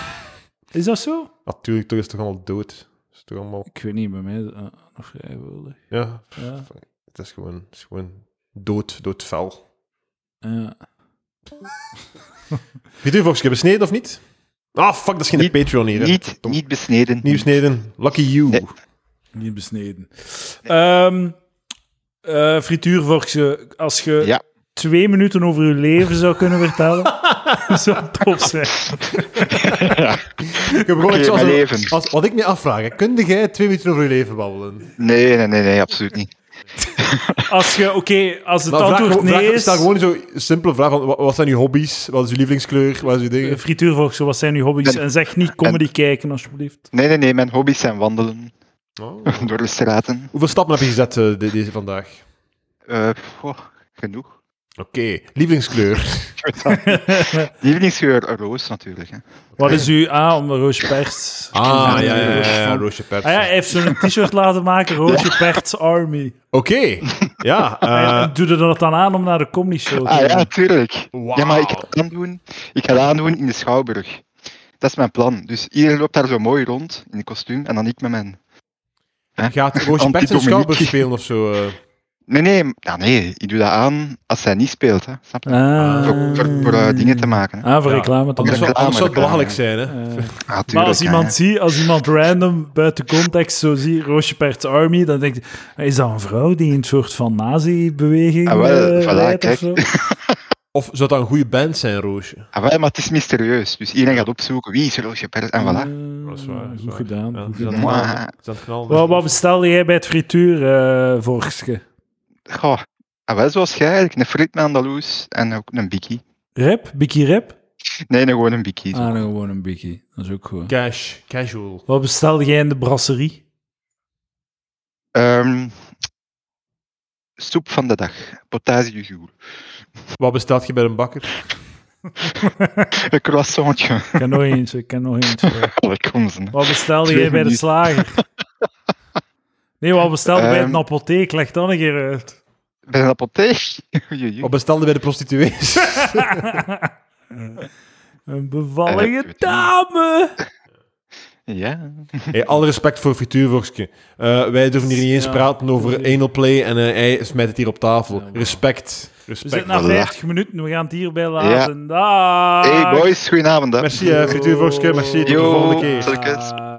Is dat zo?
Natuurlijk, toch is het toch allemaal dood. Is het toch allemaal.
Ik weet niet, bij mij is dat, eh, nog vrijwillig.
Ja,
Ja,
Het is gewoon, het is gewoon dood, doodvel.
ja.
Wie doet volgens je besneden of niet? Ah, fuck, dat is geen
Niet-
Patreon hier. hè.
Niet,
Tom.
niet besneden.
Niet besneden. Lucky you.
Nee.
Niet besneden. Ehm eh, frituurvorkje, als je
Ja.
twee minuten over je leven zou kunnen vertellen, zou tof zijn.
Ik heb gewoon
Oké,
iets als,
mijn leven.
als- wat ik me afvraag, hè, kunde jij twee minuten over je leven babbelen?
Nee, nee, nee, nee, absoluut niet.
Als je, oké, als het
Maar vraag
antwoord
gewoon-
nee
vraag-
is...
Stel gewoon zo'n simpele vraag van, wa- wat zijn uw hobby's? Wat is uw lievelingskleur? Wat is uw
Eh,
ding?
Frituurvorkje, wat zijn uw hobby's?
En-
En zeg niet comedy kijken, alsjeblieft.
Nee, nee, nee, mijn hobby's zijn wandelen
Oh.
door de straten.
Hoeveel stappen heb je gezet eh, de- deze vandaag?
Eh, goh, genoeg.
Oké, lievelingskleur.
Lievelingsgeur, roos natuurlijk. Hè.
Wat is uw... Ah, om Roosje Perts.
Ah, ja, ja, ja,
Roosje
ja,
van-
roosje pers.
Ah ja, hij heeft zo'n t-shirt laten maken, Roosje Perts Army.
Oké, ja.
En-
eh,
en doe er dat dan aan om naar de comedy show te
Ah ja,
gaan?
tuurlijk.
Wauw.
Ja, maar ik ga, het aandoen, ik ga dat aandoen in de Schouwburg. Dat is mijn plan. Dus iedereen loopt daar zo mooi rond in een kostuum en dan ik met mijn...
Gaat Roosje Pers een
Anti-Dominique.
schouwburg spelen of zo? eh?
Nee, nee, ja, nee, ik doe dat aan als zij niet speelt. Hè. Snap je?
Ah.
Voor, voor, voor, eh, dingen te maken. Hè.
Ah, voor
Ja.
reclame. te
Anders
maken.
zou, anders zou het belachelijk zijn, hè?
Eh,
Ah, tuurlijk,
maar als
hè.
iemand, zie, als iemand random buiten context zo ziet, Roosje Perts Army, dan denk ik, is dat een vrouw die een soort van nazi-beweging
Ah, wel,
eh,
voilà,
leidt of
kijk.
zo?
Of zou dat een goede band zijn, Roosje?
Ah, wel, maar het is mysterieus. Dus iedereen gaat opzoeken wie is Roosje Pers en voilà.
Eh,
Dat is waar, dat is
Goed
waar.
gedaan. goed
is
gedaan.
aan het knallen.
Maar-
Is aan het knallen.
Wat, wat bestelde jij bij het frituur, eh Vorkske?
Ah, Goh. Ah, wel zoals jij eigenlijk. Een frit met Andaloes en ook een bikkie.
Rep? Bikkie Rep?
Nee, nee, gewoon een bikkie. zo.
Ah, nou, gewoon een bikkie. Dat is ook goed.
Cash, casual.
Wat bestelde jij in de brasserie?
Ehm, soep van de dag. Potasiejour.
Wat bestelt je bij een bakker?
Een croissantje.
Ik ken nog eens, ik ken nog eens. eh.
Allee, Kom ze. hè.
Wat bestelde jij bij de slager? Nee, wat bestelde bij een
Ehm.
apotheek? Leg dat een keer uit.
Bij een apotheek. Oei, oei, oei.
Wat bestelde bij de prostituees?
Een
Eh, ik
bevallige
weet
dame!
Ja.
hey, alle respect voor Frituurvorstje. Eh, wij durven hier niet eens
Ja,
praten over
precies.
anal play en eh, hij smijt het hier op tafel.
Ja, maar-
Respect.
We
Respect.
zitten na
Voilà.
50 minuten, we gaan het hierbij laten. Daag. Ah,
Hey boys, goedenavond. hè.
Merci, eh, Frituurvorstje. Merci. Tot de
Yo.
volgende keer.
Tot de kus.
Daag.